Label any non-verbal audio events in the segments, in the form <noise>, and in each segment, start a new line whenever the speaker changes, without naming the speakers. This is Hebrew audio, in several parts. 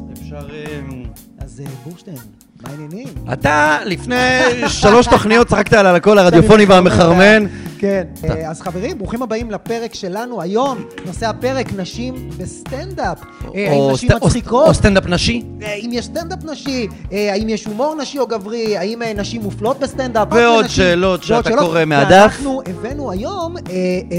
בעיקר... אמ,
אז אה, בורשטיין, מה העניינים?
אתה לפני <laughs> שלוש תוכניות צחקת על הלקול הרדיופוני והמחרמן.
כן. אה, אז חברים, ברוכים הבאים לפרק שלנו היום. נושא הפרק, נשים בסטנדאפ. אה, האם
או
נשים
סט- או סט-
מצחיקות?
או סטנדאפ נשי.
אה, האם יש סטנדאפ נשי? אה, האם יש הומור נשי או גברי? האם אה, נשים מופלות בסטנדאפ? רק
ועוד
לנשים.
שאלות
ועוד
שאתה
שאלות.
קורא מהדף.
ואנחנו הבאנו היום אה,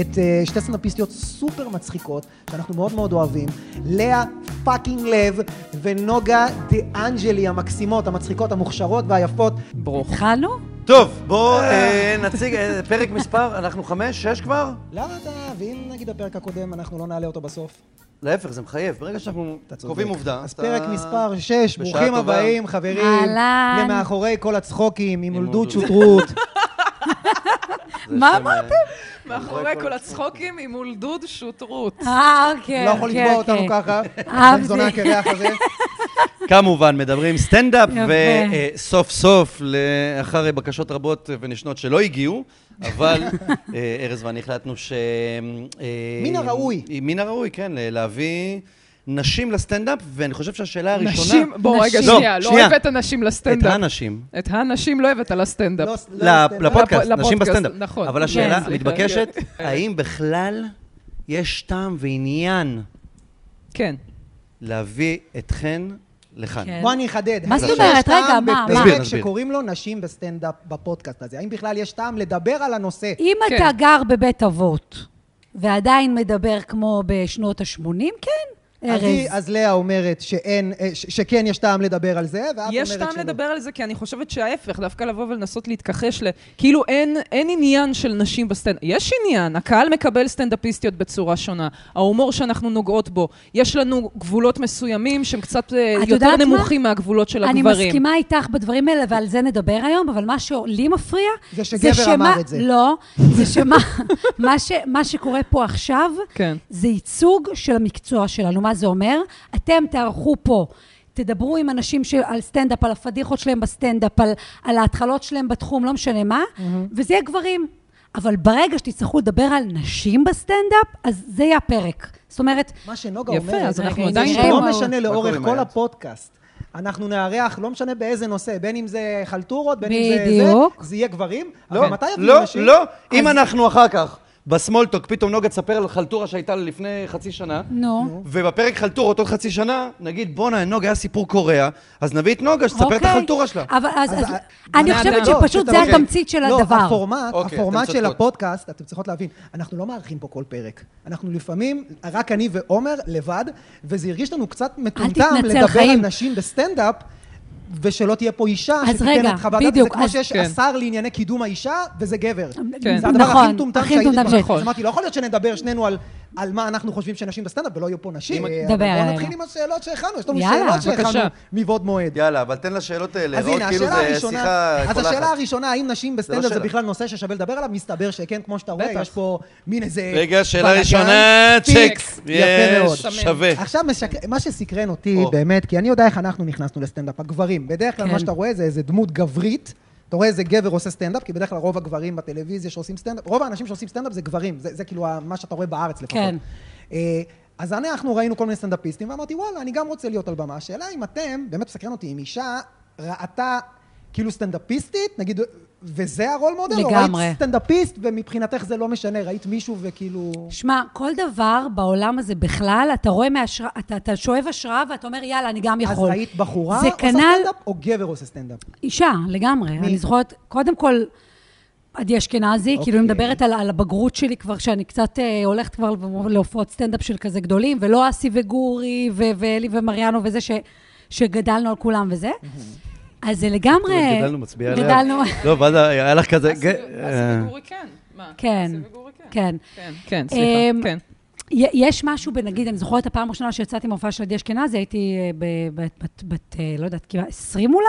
את אה, שתי סטנדאפיסטיות סופר מצחיקות, שאנחנו מאוד מאוד אוהבים. לאה פאקינג לב ונוגה דה אנג'לי המקסימות, המצחיקות, המוכשרות והיפות.
ברוך. התחלנו?
טוב, בוא אה, נציג אה, פרק מספר, אנחנו חמש, שש כבר?
למה אתה, ואם נגיד הפרק הקודם אנחנו לא נעלה אותו בסוף?
להפך, זה מחייב. ברגע שאנחנו
אתה צודק.
קובעים עובדה.
אז
אתה-
פרק מספר 6,
בשעה
ברוכים
טובה.
הבאים, חברים.
אהלן.
למאחורי כל הצחוקים, עם
עם
הולדות
הולדות.
שוטרות.
<laughs>
לא
זה
מה
שם, אה,
אמרתם? מאחורי כל הצחוקים עם הולדוד שוטרות.
אה, אוקיי.
לא יכול
אוקיי,
לתבוע אותנו
אוקיי.
ככה.
אהבתי.
בן זונה הקרח
<laughs>
הזה. לא,
כמובן, מדברים סטנדאפ,
יפה.
וסוף סוף, לאחר בקשות רבות ונשנות שלא הגיעו, אבל אה, ארז ואני החלטנו ש... אה,
מן הראוי.
מן הראוי, כן, להביא נשים לסטנדאפ, ואני חושב שהשאלה הראשונה...
נשים, בוא רגע,
נשים.
שנייה,
לא,
לא
שנייה.
הבאת נשים
את
לסטנדאפ.
האנשים.
את הנשים לא הבאת
לא-
לסטנדאפ.
לא
לפ-
סטנדאפ.
לפודקאסט,
לפ-
נשים
לפודקאסט,
בסטנדאפ.
נכון.
אבל השאלה
כן,
סליחה.
המתבקשת, האם בכלל יש טעם ועניין
כן.
להביא אתכן לכאן?
כן.
בוא אני אחדד.
מה זאת
האם
אומרת?
יש טעם
רגע, מה,
בפרק
מה? נסביר, נסביר.
שקוראים לו נשים בסטנדאפ בפודקאסט הזה. האם בכלל יש טעם לדבר על הנושא?
אם
כן.
אתה גר בבית אבות, ועדיין מדבר כמו בשנות ה-80, כן,
אז היא-
ארז.
אז לאה אומרת שאין, אה, ש- שכן יש טעם לדבר על זה, ואת אומרת שלא.
יש טעם לדבר על זה, כי אני חושבת שההפך, דווקא לבוא ולנסות להתכחש ל... כאילו אין, אין עניין של נשים בסטנדאפ. יש עניין, הקהל מקבל סטנדאפיסטיות בצורה שונה. ההומור שאנחנו נוגעות בו, יש לנו גבולות מסוימים שהם קצת אה,
את
יותר
יודעת מה?
נמוכים מהגבולות של
אני
הגברים.
מסכימה איתך בדברים האלה, ועל זה נדבר היום, אבל מה שלי מפריע...
זה שגבר
שמה-
אמר את זה.
לא, זה שמה <laughs> מה ש- מה שקורה פה עכשיו,
כן.
זה ייצוג של המקצוע שלנו. מה זה אומר? אתם תערכו פה. תדברו עם אנשים ש... על סטנדאפ, על הפדיחות שלהם בסטנדאפ, על, על ההתחלות שלהם בתחום, לא משנה מה, mm-hmm. וזה יהיה גברים. אבל ברגע שתצטרכו לדבר על נשים בסטנדאפ, אז זה יהיה הפרק. זאת אומרת,
מה שנוגה
יפה,
אומרת,
אז אנחנו
זה
עדיין
שלא
פה.
משנה לאורך
קורה עם
כל
היד?
הפודקאסט. אנחנו נארח, לא משנה באיזה נושא, בין אם זה חלטורות, בין אם זה
בדיוק.
זה, זה יהיה גברים,
לא,
אבל מתי יביאו
לא,
נשים?
לא, אם אנחנו אחר כך, בסמולטוק, פתאום נוגה תספר על חלטורה שהייתה לה לפני חצי שנה,
נו.
ובפרק חלטורות עוד חצי שנה, נגיד, בואנה, נוגה, היה סיפור קורע, אז נביא את נוגה שתספר את
אוקיי.
החלטורה שלה.
אבל אז, אז,
אז- אה,
אני
בני
חושבת
אדם.
שפשוט
לא,
זה
אוקיי.
התמצית של
לא,
הדבר.
הפורמט,
אוקיי,
הפורמט
אתן
של
צודקות.
הפודקאסט, אתם צריכות להבין, אנחנו לא מארחים פה כל פרק. אנחנו לפעמים, רק אני ועומר לבד, וזה הרגיש לנו קצת מטומטם
תתנצל,
לדבר
חיים.
על נשים בסטנדאפ. ושלא תהיה פה אישה
אז
שתיתן
רגע,
את חוות הדעת, זה
בדיוק,
כמו
אז-
שיש
כן.
השר לענייני קידום האישה, וזה גבר.
כן.
זה הדבר הכי
נכון,
מטומטם
הכי
שהייתי
מטומטם
כבר.
שיש.
אז אמרתי, לא יכול להיות שנדבר שנינו על, על מה אנחנו חושבים שנשים בסטנדאפ, ולא יהיו פה נשים. אה, אבל
דבר
בואו
עלינו.
נתחיל עם השאלות שהכנו, יש לנו
יאללה,
שאלות שהכנו
בבקשה.
מבעוד מועד.
יאללה, אבל תן לשאלות האלה,
אז
לראות
הנה,
כאילו
השאלה
זה
הראשונה,
שיחה
אז
קולחת.
השאלה הראשונה, האם נשים
לא
בסטנדאפ זה
שאלה.
בכלל נושא ששווה לדבר עליו? מסתבר שכן, כמו שאתה רואה,
בטח.
יש פה מין איזה...
רגע, שאלה
בלאגן.
ראשונה, צ'קס.
פיקס. יפה מאוד.
שמן.
שווה.
אה,
עכשיו, משק- מה שסקרן אותי,
או.
באמת, כי אני יודע איך אנחנו נכנסנו לסטנדאפ, הגברים. בדרך כלל
כן.
מה שאתה רואה זה איזה דמות גברית. אתה רואה איזה גבר עושה סטנדאפ, כי בדרך כלל רוב הגברים בטלוויזיה שעושים סטנדאפ, רוב האנשים שעושים סטנדאפ זה גברים, זה, זה כאילו ה- מה שאתה רואה בארץ לפחות.
כן.
אה, אז אנחנו ראינו כל מיני סטנדאפיסטים, ואמרתי, וואלה, אני גם רוצה להיות על במה. השאלה אם אתם, באמת מסקרן אותי, אם אישה ראתה כאילו סטנדאפיסטית, נגיד, וזה הרול מודל? או
לגמרי.
ראית סטנדאפיסט, ומבחינתך זה לא משנה, ראית מישהו וכאילו...
שמע, כל דבר בעולם הזה בכלל, אתה רואה מהשראה, אתה, אתה שואב השראה ואתה אומר, יאללה, אני גם
אז
יכול.
ראית בחורה
זה
עושה
כנ"ל
סטנדאפ, או גבר עושה סטנדאפ?
אישה, לגמרי.
מי?
מי? אני זוכרת, קודם כל, עדי אשכנזי,
אוקיי.
אוקיי. כאילו, היא מדברת על, על הבגרות שלי כבר, שאני קצת אה, הולכת כבר להופעות סטנדאפ של כזה גדולים, ולא אסי וגורי, ו- ואלי ומריאנו וזה, ש- שגדלנו על כולם וזה. אז זה לגמרי...
גדלנו, לא, מצביע עליה.
גדלנו,
לא, ואז היה לך כזה... אה,
אסי ו- אסי וגורי כן. מה?
כן,
אסי וגורי כן.
כן.
כן, כן, סליחה,
אמ,
כן.
י- יש משהו בנגיד, אני זוכרת את הפעם הראשונה שיצאתי מההופעה של עדי אשכנזי, הייתי אה, ב- בת, בת, בת, אה, לא יודעת, כמעט 20 אולי,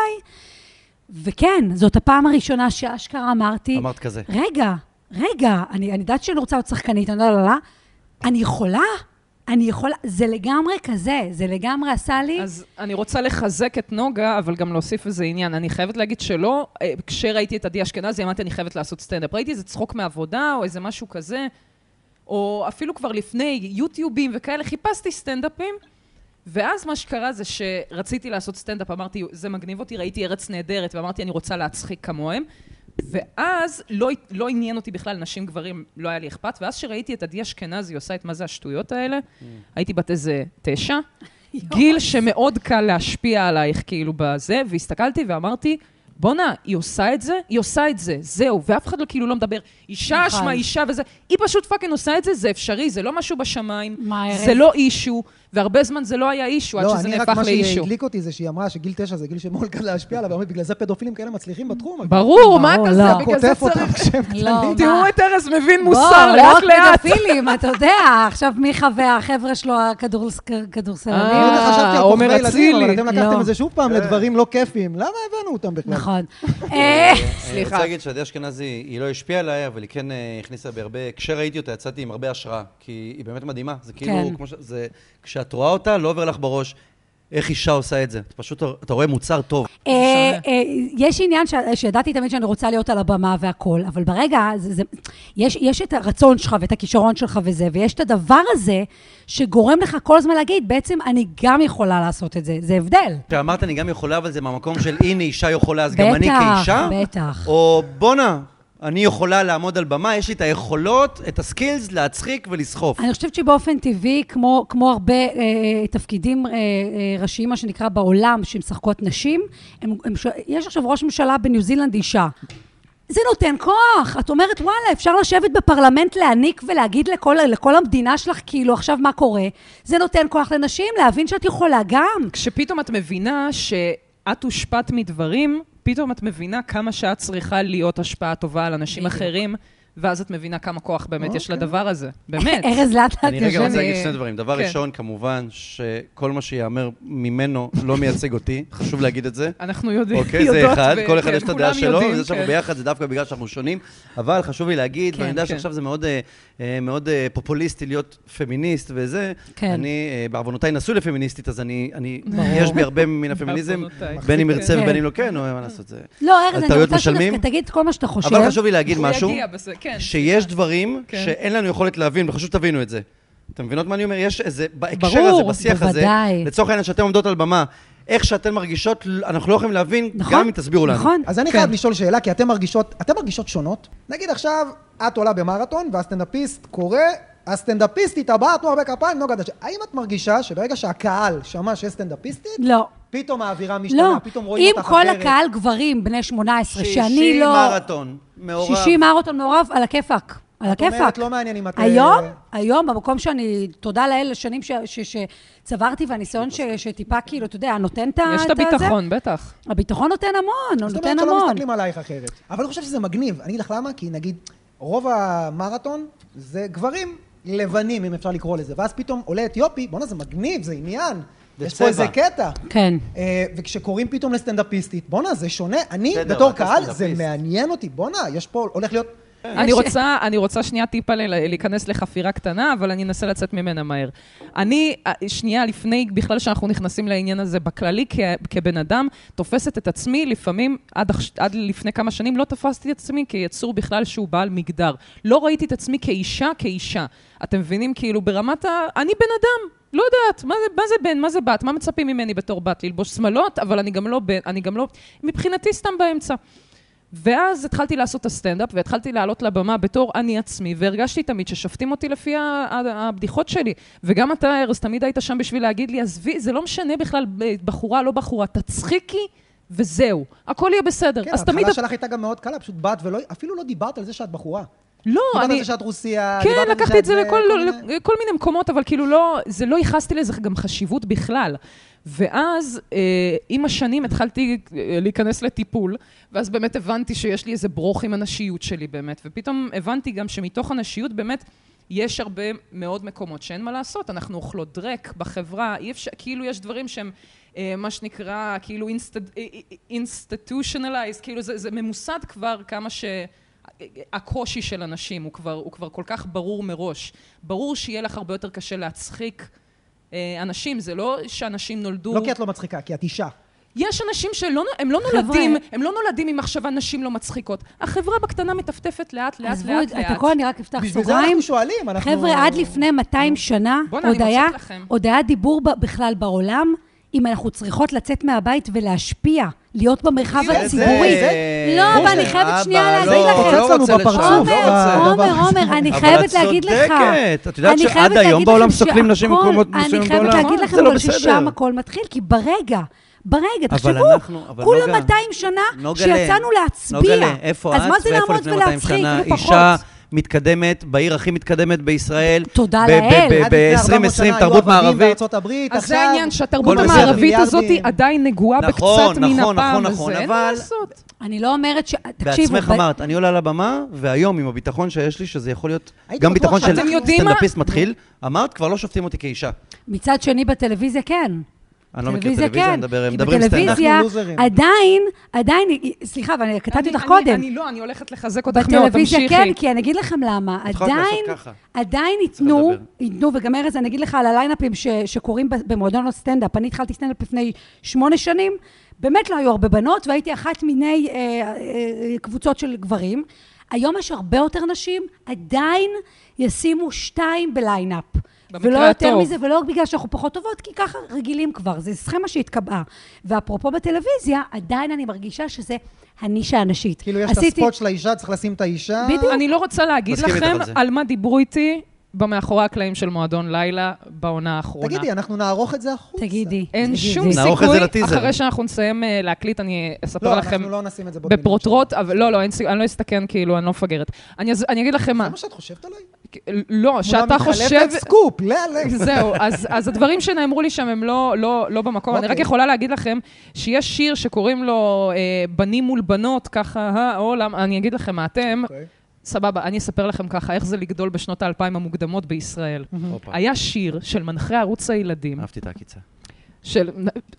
וכן, זאת הפעם הראשונה שאשכרה אמרתי,
אמרת כזה.
רגע, רגע, אני, אני יודעת שאני רוצה להיות שחקנית, אני לא, לא, לא, לא, אני יכולה, אני יכולה, זה לגמרי כזה, זה לגמרי עשה לי,
אז אני רוצה לחזק את נוגה, אבל גם להוסיף איזה עניין. אני חייבת להגיד שלא, אה, כשראיתי את עדי אשכנזי, אמרתי, אני חייבת לעשות סטנדאפ. ראיתי איזה צחוק מעבודה, או איזה משהו כזה, או אפילו כבר לפני יוטיובים וכאלה, חיפשתי סטנדאפים, ואז מה שקרה זה שרציתי לעשות סטנדאפ, אמרתי, זה מגניב אותי, ראיתי ארץ נהדרת, ואמרתי, אני רוצה להצחיק כמוהם. ואז לא, לא עניין אותי בכלל נשים, גברים, לא היה לי אכפת. ואז שראיתי את עדי אשכנזי עושה את מה זה השטויות האלה, הייתי בת איזה תשע. <laughs> גיל שמאוד קל להשפיע עלייך, כאילו, בזה, והסתכלתי ואמרתי, בואנה, היא עושה את זה? היא עושה את זה, זהו. ואף אחד לא כאילו לא מדבר, אישה
נכון.
אשמה, אישה וזה. היא פשוט פאקינג עושה את זה, זה אפשרי, זה לא משהו בשמיים,
מה, ארז?
זה לא אישו, והרבה זמן זה לא היה אישו, עד
לא,
שזה
אני רק,
נהפך
מה
לאישו.
שהדליק אותי זה שהיא אמרה שגיל תשע זה גיל שמאוד קל להשפיע עליו, ואומרת, בגלל זה פדופילים כאלה מצליחים בתחום. אבל
ברור, מה
ברור,
כזה,
לא.
בגלל זה
כותף אותם
צריך...
כשהם
לא,
קטנים.
תראו
מה?
את ארז מבין
בוא,
מוסר
לא רק
לאט לאט.
פדופילים, אתה יודע, עכשיו מיכה והחבר'ה שלו, הכדורס-
אה,
הכדורסלנים.
אני עוד חשבתי על
עומר
כוכבי ילדים, אבל
אצילי.
אתם לקחתם
לא.
את זה שוב
אה.
פעם לדברים לא כיפיים. למה הבאנו אותם בכלל?
נכון. אה,
אני
סליחה.
רוצה להגיד שעדי אשכנזי, היא לא השפיעה עליי, אבל היא כן אה, הכניסה בי הרבה, כשראיתי אותה יצאתי עם הרבה השראה, כי היא באמת מדהימה. זה כאילו,
כן.
כמו ש... זה... כשאת רואה אותה, לא עובר לך בראש איך אישה עושה את זה. אתה פשוט אתה רואה מוצר טוב.
אה, אה, יש עניין ש- שידעתי תמיד שאני רוצה להיות על הבמה והכול, אבל ברגע, זה, זה, יש, יש את הרצון שלך ואת הכישרון שלך וזה, ויש את הדבר הזה שגורם לך כל הזמן להגיד, בעצם אני גם יכולה לעשות את זה, זה הבדל.
אתה אמרת, אני גם יכולה, אבל זה מהמקום של הנה אישה יכולה, אז גם
בטח,
אני כאישה?
בטח.
או בואנה, אני יכולה לעמוד על במה, יש לי את היכולות, את הסקילס להצחיק ולסחוף.
אני חושבת שבאופן טבעי, כמו, כמו הרבה אה, אה, תפקידים אה, אה, ראשיים, מה שנקרא, בעולם, שמשחקות נשים, הם, הם, ש- יש עכשיו ראש ממשלה בניו זילנד אישה. זה נותן כוח. את אומרת, וואלה, אפשר לשבת בפרלמנט, להעניק ולהגיד לכל, לכל המדינה שלך, כאילו, עכשיו מה קורה? זה נותן כוח לנשים להבין שאת יכולה גם.
כשפתאום את מבינה שאת הושפעת מדברים, פתאום את מבינה כמה שאת צריכה להיות השפעה טובה על אנשים
בדיוק.
אחרים, ואז את מבינה כמה כוח באמת
אוקיי.
יש לדבר הזה. באמת.
ארז לאט לאט
אני רגע רוצה
יושב.
להגיד שני דברים. דבר
כן.
ראשון, כמובן, שכל מה שיאמר ממנו לא מייצג אותי, חשוב להגיד את זה.
אנחנו יודעים,
אוקיי, זה
יודעות
אחד,
ו-
כל אחד
כן,
יש את הדעה
כולם
שלו,
יודעים,
וזה שאנחנו
כן.
ביחד, זה דווקא בגלל שאנחנו שונים, אבל חשוב לי להגיד,
כן,
ואני יודע
כן.
שעכשיו זה מאוד, אה, אה, מאוד אה, פופוליסטי להיות פמיניסט וזה,
כן.
אני אה, בעוונותיי נשוי לפמיניסטית, אז אני, אני- יש בי הרבה מן הפמיניזם,
בעוונותיי.
בין אם ארצה
כן.
ובין אם לא כן, או מה לעשות, זה...
לא,
על
ארז, אני
טעויות
רוצה
משלמים?
שדווקא תגיד כל מה שאתה חושב.
אבל חשוב לי להגיד
הוא
משהו,
יגיע בסדר, כן.
שיש דברים
כן.
שאין לנו יכולת להבין, וחשוב שתבינו את זה. אתם מבינות מה אני אומר? יש איזה, בהקשר
ברור,
הזה, בשיח הזה,
בוודאי.
לצורך העניין, שאתן עומדות על במה, איך שאתן מרגישות, אנחנו לא יכולים להבין,
נכון?
גם אם תסבירו לנו.
נכון.
אז אני חייב לשאול שאלה, כי אתן מרגישות, אתן מרגישות שונות? נגיד עכשיו, את עולה במרתון, והסטנדאפיסט קורא, הסטנדאפיסטית הבאה, תנו הרבה כפיים, נוגה דשא. האם את מרגישה שברגע שהקהל שמע שיש סטנדאפיסטית,
לא.
פתאום האווירה משתנה,
לא,
פתאום רואים
אם
אותך
כל
אחרת?
הקהל גברים בני 18, שאני
שישי
לא...
מרתון, מעורב.
60 מרתון מעורב, על הכיפאק. על
את אומרת,
הכיפאק.
לא מעניין אם את,
היום,
אה,
היום, במקום שאני, תודה לאל, לשנים ש- ש- שצברתי והניסיון ש- שטיפה, כאילו, אתה יודע, נותן את ה...
יש את
הזה.
הביטחון, בטח.
הביטחון נותן המון, הוא
זאת
כן
נותן
אומרת שלא
המון.
מסתכלים עלייך אחרת. אבל אני חושב שזה מגניב. אני אגיד לך למה, כי נגיד, רוב המרתון זה גברים לבנים, אם אפשר לקרוא לזה. ואז פתאום עולה אתיופי, בואנה זה מגניב, זה עניין.
זה
יש פה איזה
צבע.
קטע.
כן.
אה, וכשקוראים פתאום לסטנדאפיסטית, בואנה זה שונה. אני
בסדר,
בתור
אתה
קהל, זה
סטנדאפיסט.
מעניין אותי. בואנה, יש פה, הולך להיות...
אני
יש-
רוצה, אני רוצה שנייה טיפה ל- להיכנס לחפירה קטנה, אבל אני אנסה לצאת ממנה מהר. אני, אה, שנייה לפני, בכלל שאנחנו נכנסים לעניין הזה בכללי, כ- כבן אדם, תופסת את עצמי, לפעמים, עד, עכש- עד לפני כמה שנים לא תפסתי את עצמי כיצור בכלל שהוא בעל מגדר. לא ראיתי את עצמי כאישה, כאישה. אתם מבינים? כאילו, ברמת ה... אני בן אדם. לא יודעת, מה זה, מה זה בן, מה זה בת, מה מצפים ממני בתור בת? ללבוש שמלות, אבל אני גם לא בן, אני גם לא... מבחינתי סתם באמצע. ואז התחלתי לעשות את הסטנדאפ, והתחלתי לעלות לבמה בתור אני עצמי, והרגשתי תמיד ששופטים אותי לפי ה- ה- הבדיחות שלי. וגם אתה, ארז, תמיד היית שם בשביל להגיד לי, עזבי, זה לא משנה בכלל אה, בחורה, לא בחורה, תצחיקי וזהו. הכל יהיה בסדר.
כן,
אז תמיד...
ההתחלה שלך הייתה גם מאוד קלה, פשוט באת ולא... אפילו לא דיברת על זה שאת בחורה.
לא,
דיברת על
אני...
זה שאת רוסיה, דיברת
כן,
על זה
לקחתי את זה
שאת, אה,
לכל
כל
לא,
מיני-
לכל מיני מקומות, אבל כאילו לא, זה לא ייחסתי לזה גם חשיבות בכלל. ואז אה, עם השנים התחלתי אה, להיכנס לטיפול, ואז באמת הבנתי שיש לי איזה ברוך עם הנשיות שלי באמת, ופתאום הבנתי גם שמתוך הנשיות באמת יש הרבה מאוד מקומות שאין מה לעשות, אנחנו אוכלות דרק בחברה, אי אפשר, כאילו יש דברים שהם אה, מה שנקרא כאילו אינסטטושנליז, אה, כאילו זה, זה ממוסד כבר כמה ש... הקושי של אנשים הוא כבר, הוא כבר כל כך ברור מראש. ברור שיהיה לך הרבה יותר קשה להצחיק אה, אנשים, זה לא שאנשים נולדו...
לא כי את לא מצחיקה, כי את אישה.
יש אנשים שלא, נו- הם לא
חבר'ה.
נולדים, הם לא נולדים עם מחשבה נשים לא מצחיקות. החברה בקטנה מטפטפת לאט, לאט,
עזבו
לאט,
את את
לאט.
הכל, אני רק אפתח
בשביל זה
סוגריים.
אנחנו שואלים, אנחנו... Mm.
חבר'ה, עד לפני 200 שנה,
בואנה,
עוד
אני
היה,
מוצאת לכם.
עוד היה דיבור ב- בכלל בעולם, אם אנחנו צריכות לצאת מהבית ולהשפיע, להיות במרחב
זה-
הציבורי.
זה-
לא, אבל אני
זה-
חייבת
אבא,
שנייה להגיד
לא,
לכם.
לא רוצה
לנו בפרצוף.
לשנות, לא
עומר,
רוצה.
אבל-
עומר, עומר, אני חייבת להגיד לך.
אבל את צודקת. את יודעת
אני
שעד
חייבת
היום
להגיד
בעולם
לכם
סוקלים נשים
שהכל-
במקומות מסוימים
אני
בעולם.
חייבת להגיד
זה
לכם
לא
אבל
בסדר.
ששם הכל מתחיל, כי ברגע, ברגע,
אבל
תחשבו,
אנחנו- אבל לא
כולה
נוגה-
200 שנה
נוגלה,
שיצאנו
לא
להצביע.
נוגלה, איפה את
אז מה זה
ואיפה
לעמוד
לפני 200
ולהצחיק
שנה?
ופחות?
אישה מתקדמת, בעיר הכי מתקדמת בישראל.
תודה
ב- ב-
לאל.
ב-
אה,
עד
עד לפני 400 שנה
ב-2020,
היו
תרבות
עבדים
מערבית.
בארצות הברית,
אז זה
עכשיו-
העניין שהתרבות
הכל בסדר.
המערבית הזאת
מיליארדים.
עדיין נגועה
נכון,
בקצת מן
נכון,
הפעם
נכון,
הזה,
נכון,
אין מה
אבל-
לעשות.
אני לא אומרת ש... תקשיבו,
בעצמך
ב-
אמרת, אני עולה לבמה, והיום עם הביטחון שיש לי, שזה יכול להיות
הייתי
גם
בטוח
ביטחון של
שאתם
יודעים מה-
סטנדאפיסט מתחיל, אמרת, כבר לא שופטים אותי כאישה.
מצד שני בטלוויזיה כן.
אני לא מכיר טלוויזיה,
כן.
אני מדבר-
כי
מדברים סטנדאפ.
בטלוויזיה
אנחנו לוזרים.
עדיין, עדיין, סליחה, אבל אני קטעתי
אני-
אותך
אני-
קודם.
אני לא, אני הולכת לחזק אותך מאוד,
בטלוויזיה
תמשיכי.
כן, כי אני אגיד לכם למה.
את יכולה לעשות
עדיין,
ככה.
עדיין ייתנו,
לדבר.
ייתנו, וגם ארז, אני אגיד לך על הליינאפים ש- שקורים ב- במועדון הסטנדאפ. אני התחלתי סטנדאפ לפני שמונה שנים, באמת לא היו הרבה בנות, והייתי אחת מיני אה, אה, אה, קבוצות של גברים. היום יש הרבה יותר נשים, עדיין ישימו שתיים בליינאפ.
במקרה
ולא יותר
הטוב.
מזה, ולא בגלל שאנחנו פחות טובות, כי ככה רגילים כבר, זה סכמה שהתקבעה. ואפרופו בטלוויזיה, עדיין אני מרגישה שזה הנישה הנשית.
כאילו, יש את
עשיתי-
הספוט של האישה, צריך לשים את האישה.
בדיוק.
אני לא רוצה להגיד
מסכים איתך
לכם
על זה.
על מה דיברו איתי במאחורי הקלעים של מועדון לילה בעונה האחרונה.
תגידי, אנחנו נערוך את זה החוצה.
תגידי.
אין
תגידי.
שום
נערוך את זה
סיכוי,
לטיזר.
אחרי שאנחנו נסיים אה, להקליט, אני אספר
לא,
לכם
אנחנו לא נשים את זה בוטנים.
בפרוטרוט, אבל לא, לא, אין סיכוי, אני לא אסתכן, כאילו, אני לא מפגרת. אני אז- אני אגיד לכם מה,
זה מה שאת חושבת עליי?
לא, שאתה
תמונה
חושב...
מתחלפת סקופ, לאללה.
<laughs> זהו, אז, אז הדברים שנאמרו לי שם הם לא, לא, לא במקום. אני רק
אוקיי.
יכולה להגיד לכם שיש שיר שקוראים לו אה, בנים מול בנות, ככה, אה, או למה, אני אגיד לכם מה אתם.
אוקיי.
סבבה, אני אספר לכם ככה, איך זה לגדול בשנות האלפיים המוקדמות בישראל.
הופה,
היה שיר של מנחי ערוץ הילדים,
אהבתי את העקיצה.
של...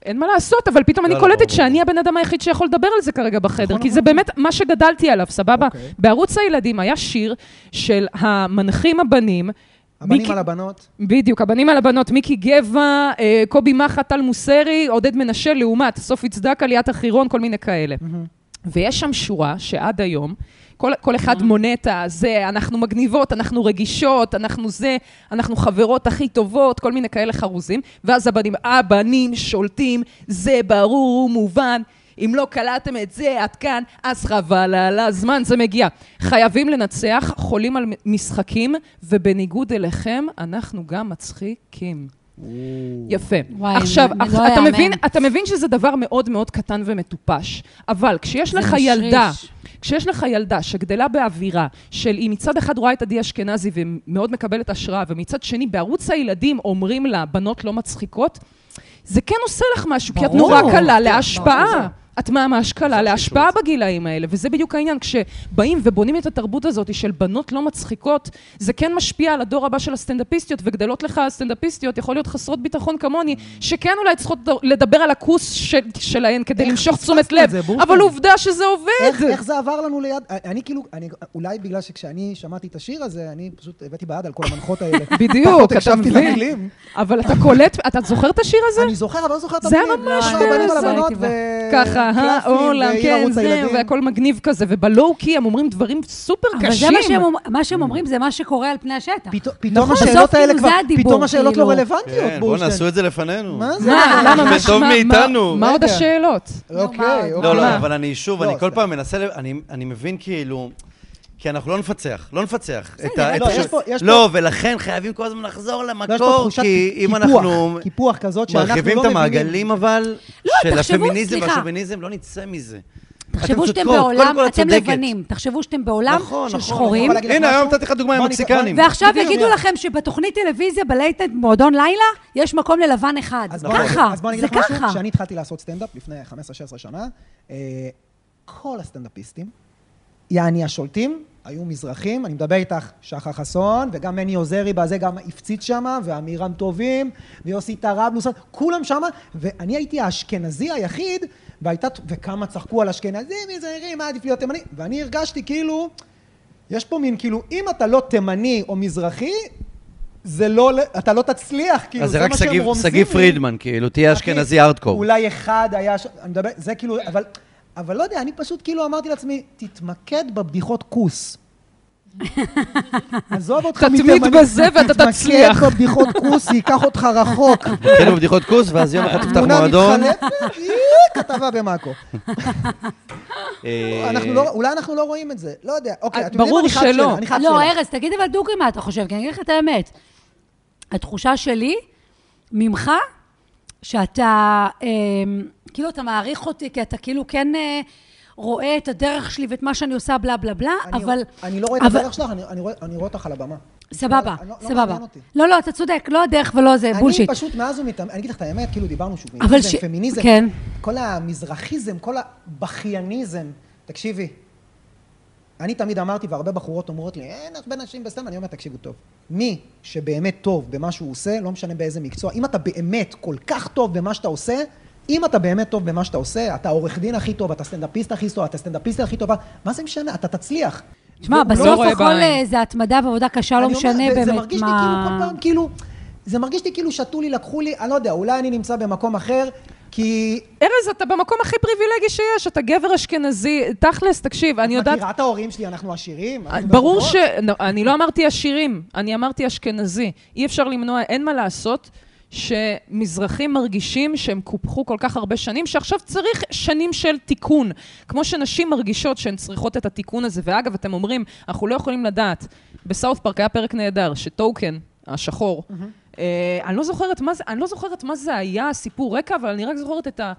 אין מה לעשות, אבל פתאום
לא,
אני
לא,
קולטת
ברור,
שאני הבן אדם היחיד שיכול לדבר על זה כרגע בחדר,
נכון,
כי זה באמת מה שגדלתי עליו, סבבה?
אוקיי.
בערוץ הילדים היה שיר של המנחים הבנים,
הבנים
מיקי-
על הבנות.
בדיוק, הבנים על הבנות, מיקי גבע, אה, קובי מחה, טל מוסרי, עודד מנשה, לעומת, סופי צדקה, ליאת החירון, כל מיני כאלה. ויש שם שורה שעד היום, כל, כל אחד מונה את הזה, אנחנו מגניבות, אנחנו רגישות, אנחנו זה, אנחנו חברות הכי טובות, כל מיני כאלה חרוזים, ואז הבנים, הבנים שולטים, זה ברור ומובן. אם לא קלטתם את זה עד כאן, אז חבל על הזמן, זה מגיע. חייבים לנצח, חולים על משחקים, ובניגוד אליכם, אנחנו גם מצחיקים. יפה.
וואי,
עכשיו,
זה
אח-
לא
אתה
יאמן.
מבין, אתה מבין שזה דבר מאוד מאוד קטן ומטופש, אבל כשיש
זה
לך
משריש.
ילדה, כשיש לך ילדה שגדלה באווירה של היא מצד אחד רואה את עדי אשכנזי ומאוד מקבלת השראה, ומצד שני בערוץ הילדים אומרים לה, בנות לא מצחיקות, זה כן עושה לך משהו, כי את
ברור.
נורא קלה
ברור,
להשפעה. את ממש קלה
זה
להשפעה
חשוב.
בגילאים האלה, וזה בדיוק העניין. כשבאים ובונים את התרבות הזאת של בנות לא מצחיקות, זה כן משפיע על הדור הבא של הסטנדאפיסטיות, וגדלות לך סטנדאפיסטיות, יכול להיות חסרות ביטחון כמוני, שכן אולי צריכות לדבר על הכוס של, שלהן כדי
איך
למשוך
פספסנו
תשומת
את
לב,
זה, בורקה?
אבל עובדה שזה עובד.
איך, איך זה עבר לנו ליד? אני כאילו, אני, אולי בגלל שכשאני שמעתי את השיר הזה, אני פשוט הבאתי בעד על כל המנחות האלה.
בדיוק,
פחות
אתה
הקשבתי
מבין?
למילים.
אבל אתה קולט, אתה זוכר את השיר הזה?
אני זוכר, אבל לא זוכר את
זה
המילים.
ממש
לא, הבנים
כזה.
על הבנות
הייתי
ו...
ככה, אה,
קלפים
עולם,
ועיר
כן,
לא ערוץ
זהו,
הילדים.
והכל מגניב כזה, ובלואו-קי הם אומרים דברים סופר קשים.
אבל זה מה שהם, אומ- מה שהם אומרים, זה מה שקורה על פני השטח.
פתאום- פתאום
נכון,
השאלות
בסוף
האלה
כאילו
כבר,
זה הדיבור,
פתאום השאלות לא
כאילו.
רלוונטיות,
כן, בואו נעשו
בורשטיין.
את זה לפנינו.
מה זה?
מה, למה, מה-
וטוב
אה, מה- מה-
מאיתנו.
מה עוד
רגע.
השאלות?
אוקיי,
לא,
לא,
אוקיי.
לא,
מה?
אבל אני שוב,
לא,
אני כל
זה-
פעם מנסה, ל- אני- אני מבין כאילו... כי אנחנו לא נפצח, לא נפצח. את ה- את
לא,
הש-
יש פה- יש
לא, ולכן חייבים כל הזמן לחזור
לא, יש פה
למקור,
תחושת
כי
קיפוח,
אם אנחנו
קיפוח כזאת שאנחנו לא מבינים.
מרחיבים את המעגלים, אבל,
לא,
של
תחשבו,
הפמיניזם
סליחה.
והשוביניזם, לא נצא מזה.
תחשבו
אתן
שאתם
צודקות, קודם
בעולם,
כל את
אתם
צודקת.
לבנים, תחשבו שאתם בעולם
נכון,
של
נכון,
שחורים,
אבל להגיד לך
הנה, היום
משהו?
נתתי לך דוגמה עם
בוא ניקח-
מקסיקנים.
בוא ניקח-
ועכשיו
בדיוק,
יגידו
יאללה.
לכם שבתוכנית טלוויזיה, בלייטנד, מועדון לילה, יש מקום ללבן אחד.
אז בוא נגיד-
ככה,
אז בוא נגיד
זה
לך משהו,
ככה.
כשאני התחלתי לעשות סטנדאפ לפני 15-16 שנה, אה, כל הסטנדאפיסטים, יעני השולטים, היו מזרחים, אני מדבר איתך, שחר חסון, וגם מני עוזרי בזה, גם הפציץ שמה, ועמירם טובים, ויוסי טראבלוס, כולם שמה, ואני הייתי האשכנזי היחיד, והייתה, וכמה צחקו על אשכנזים, מזרחים, מה עדיף להיות תימני, ואני הרגשתי כאילו, יש פה מין כאילו, אם אתה לא תימני או מזרחי, זה לא, אתה לא תצליח, כאילו,
אז זה
זה
רק
מה שהם
שגיא-
רומזים.
שגיא
לי.
פרידמן, כאילו, תהיה
אחי,
אשכנזי ארדקור.
אולי אחד היה, ש- אני מדבר, זה כאילו, אבל, אבל לא יודע, אני פשוט כאילו אמרתי לעצמי, תתמקד בבדיחות
<laughs>
כוס. עזוב אותך
תתמיד בזה ואתה תצליח.
תתמקד בבדיחות כוס,
<laughs>
זה ייקח אותך רחוק.
כאילו בדיחות כוס, ואז
<laughs>
יום אחד תפתח
תמונה
מועדון.
מתחלפת, היא כתבה במאקו.
<laughs> אה,
אנחנו לא- אולי אנחנו לא רואים את זה, לא יודע. אוקיי,
אה,
אתם יודעים
ברור
מה? אני חייב
שלא.
שאלה, אני חייב
לא,
שאלה.
ארז, תגיד אבל דוגרי מה אתה חושב, כי אני אגיד לך את האמת. התחושה שלי, ממך, שאתה, אה, כאילו אתה מעריך אותי, כי אתה כאילו כן אה, רואה את הדרך שלי ואת מה שאני עושה, בלה בלה בלה,
אני-
אבל...
אני לא רואה את
אבל-
הדרך שלך, אני- אני רואה- אני רואה אותך על הבמה.
סבבה,
אני לא- לא
סבבה.
מעניין אותי.
לא, לא, אתה צודק, לא הדרך ולא זה, בולשיט.
אני פשוט מאז ומתאמן, אני אגיד לך את האמת, כאילו דיברנו שוביניזם,
אבל ש-
פמיניזם,
כן.
כל המזרחיזם, כל הבכייניזם. תקשיבי, אני תמיד אמרתי, והרבה בחורות אומרות לי, אין הרבה נשים בסטנד, אני אומר, תקשיבו טוב. מי שבאמת טוב במה שהוא עושה, לא משנה באיזה מקצוע, אם אתה באמת כל כך טוב במה שאתה עושה, אם אתה באמת טוב במה שאתה עושה, אתה העורך דין הכי טוב, אתה סטנדאפיסט הכי טוב, אתה סטנדאפיסטית הכי טובה, מה זה משנה? אתה תצליח.
תשמע,
והוא לא
בסוף
רואה
הכל
בעין.
אה, זה התמדה ועבודה קשה, לא
אני אומר,
משנה
זה-
באמת
זה
מה...
מרגיש לי כאילו כל פעם, כאילו, זה מרגיש לי כאילו שתו לי, לקחו לי, אני לא יודע, אולי אני נמצא במקום אחר, כי...
ארז, אתה במקום הכי פריבילגי שיש, אתה גבר אשכנזי. תכלס, תקשיב, אני יודעת...
מכירה את ההורים שלי, אנחנו עשירים?
אה,
אה, אנחנו
ברור
בזוגות.
ש... לא, אני לא אמרתי עשירים, אני אמרתי אשכנזי. אי אפשר למנוע, אין מה לעשות. שמזרחים מרגישים שהם קופחו כל כך הרבה שנים, שעכשיו צריך שנים של תיקון. כמו שנשים מרגישות שהן צריכות את התיקון הזה. ואגב, אתם אומרים, אנחנו לא יכולים לדעת. בסאוף פארק היה פרק נהדר, שטוקן, השחור, אה, אני, לא זוכרת מה זה, אני לא זוכרת מה זה היה, הסיפור רקע, אבל אני רק זוכרת את ה...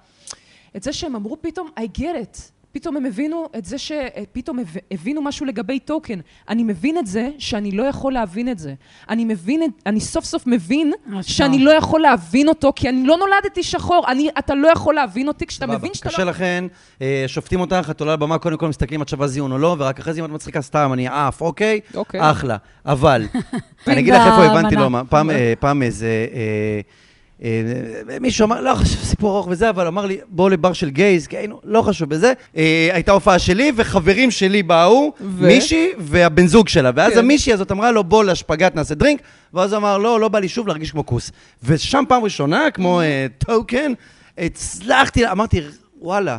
את זה שהם אמרו פתאום, I get it. פתאום הם הבינו את זה ש... פתאום הב- הבינו משהו לגבי טוקן. אני מבין את זה שאני לא יכול להבין את זה. אני מבין את... אני סוף סוף מבין
אז
שאני
טוב.
לא יכול להבין אותו, כי אני לא נולדתי שחור. אני... אתה לא יכול להבין אותי כשאתה
סבבה.
מבין שאתה
קשה
לא...
לכן, אה, שופטים אותך, את עולה לבמה, קודם כל מסתכלים אם את שווה זיון או לא, ורק אחרי זה אם את מצחיקה סתם, אני עף, אוקיי?
אוקיי.
אחלה.
<laughs>
אבל, אני אגיד לך איפה
והמנה.
הבנתי לא מה, פעם, אה, פעם איזה... אה, אה, מישהו אמר, לא חשוב, סיפור ארוך וזה, אבל אמר לי, בואו לבר של גייז, כי היינו, לא חשוב בזה. אה, הייתה הופעה שלי, וחברים שלי באו,
ו?
מישהי והבן זוג שלה. ואז
כן.
המישהי הזאת אמרה לו, בוא לאשפגת נעשה דרינק, ואז הוא אמר, לא, לא בא לי שוב להרגיש כמו כוס. ושם פעם ראשונה, כמו אה, טוקן, הצלחתי, אמרתי, וואלה,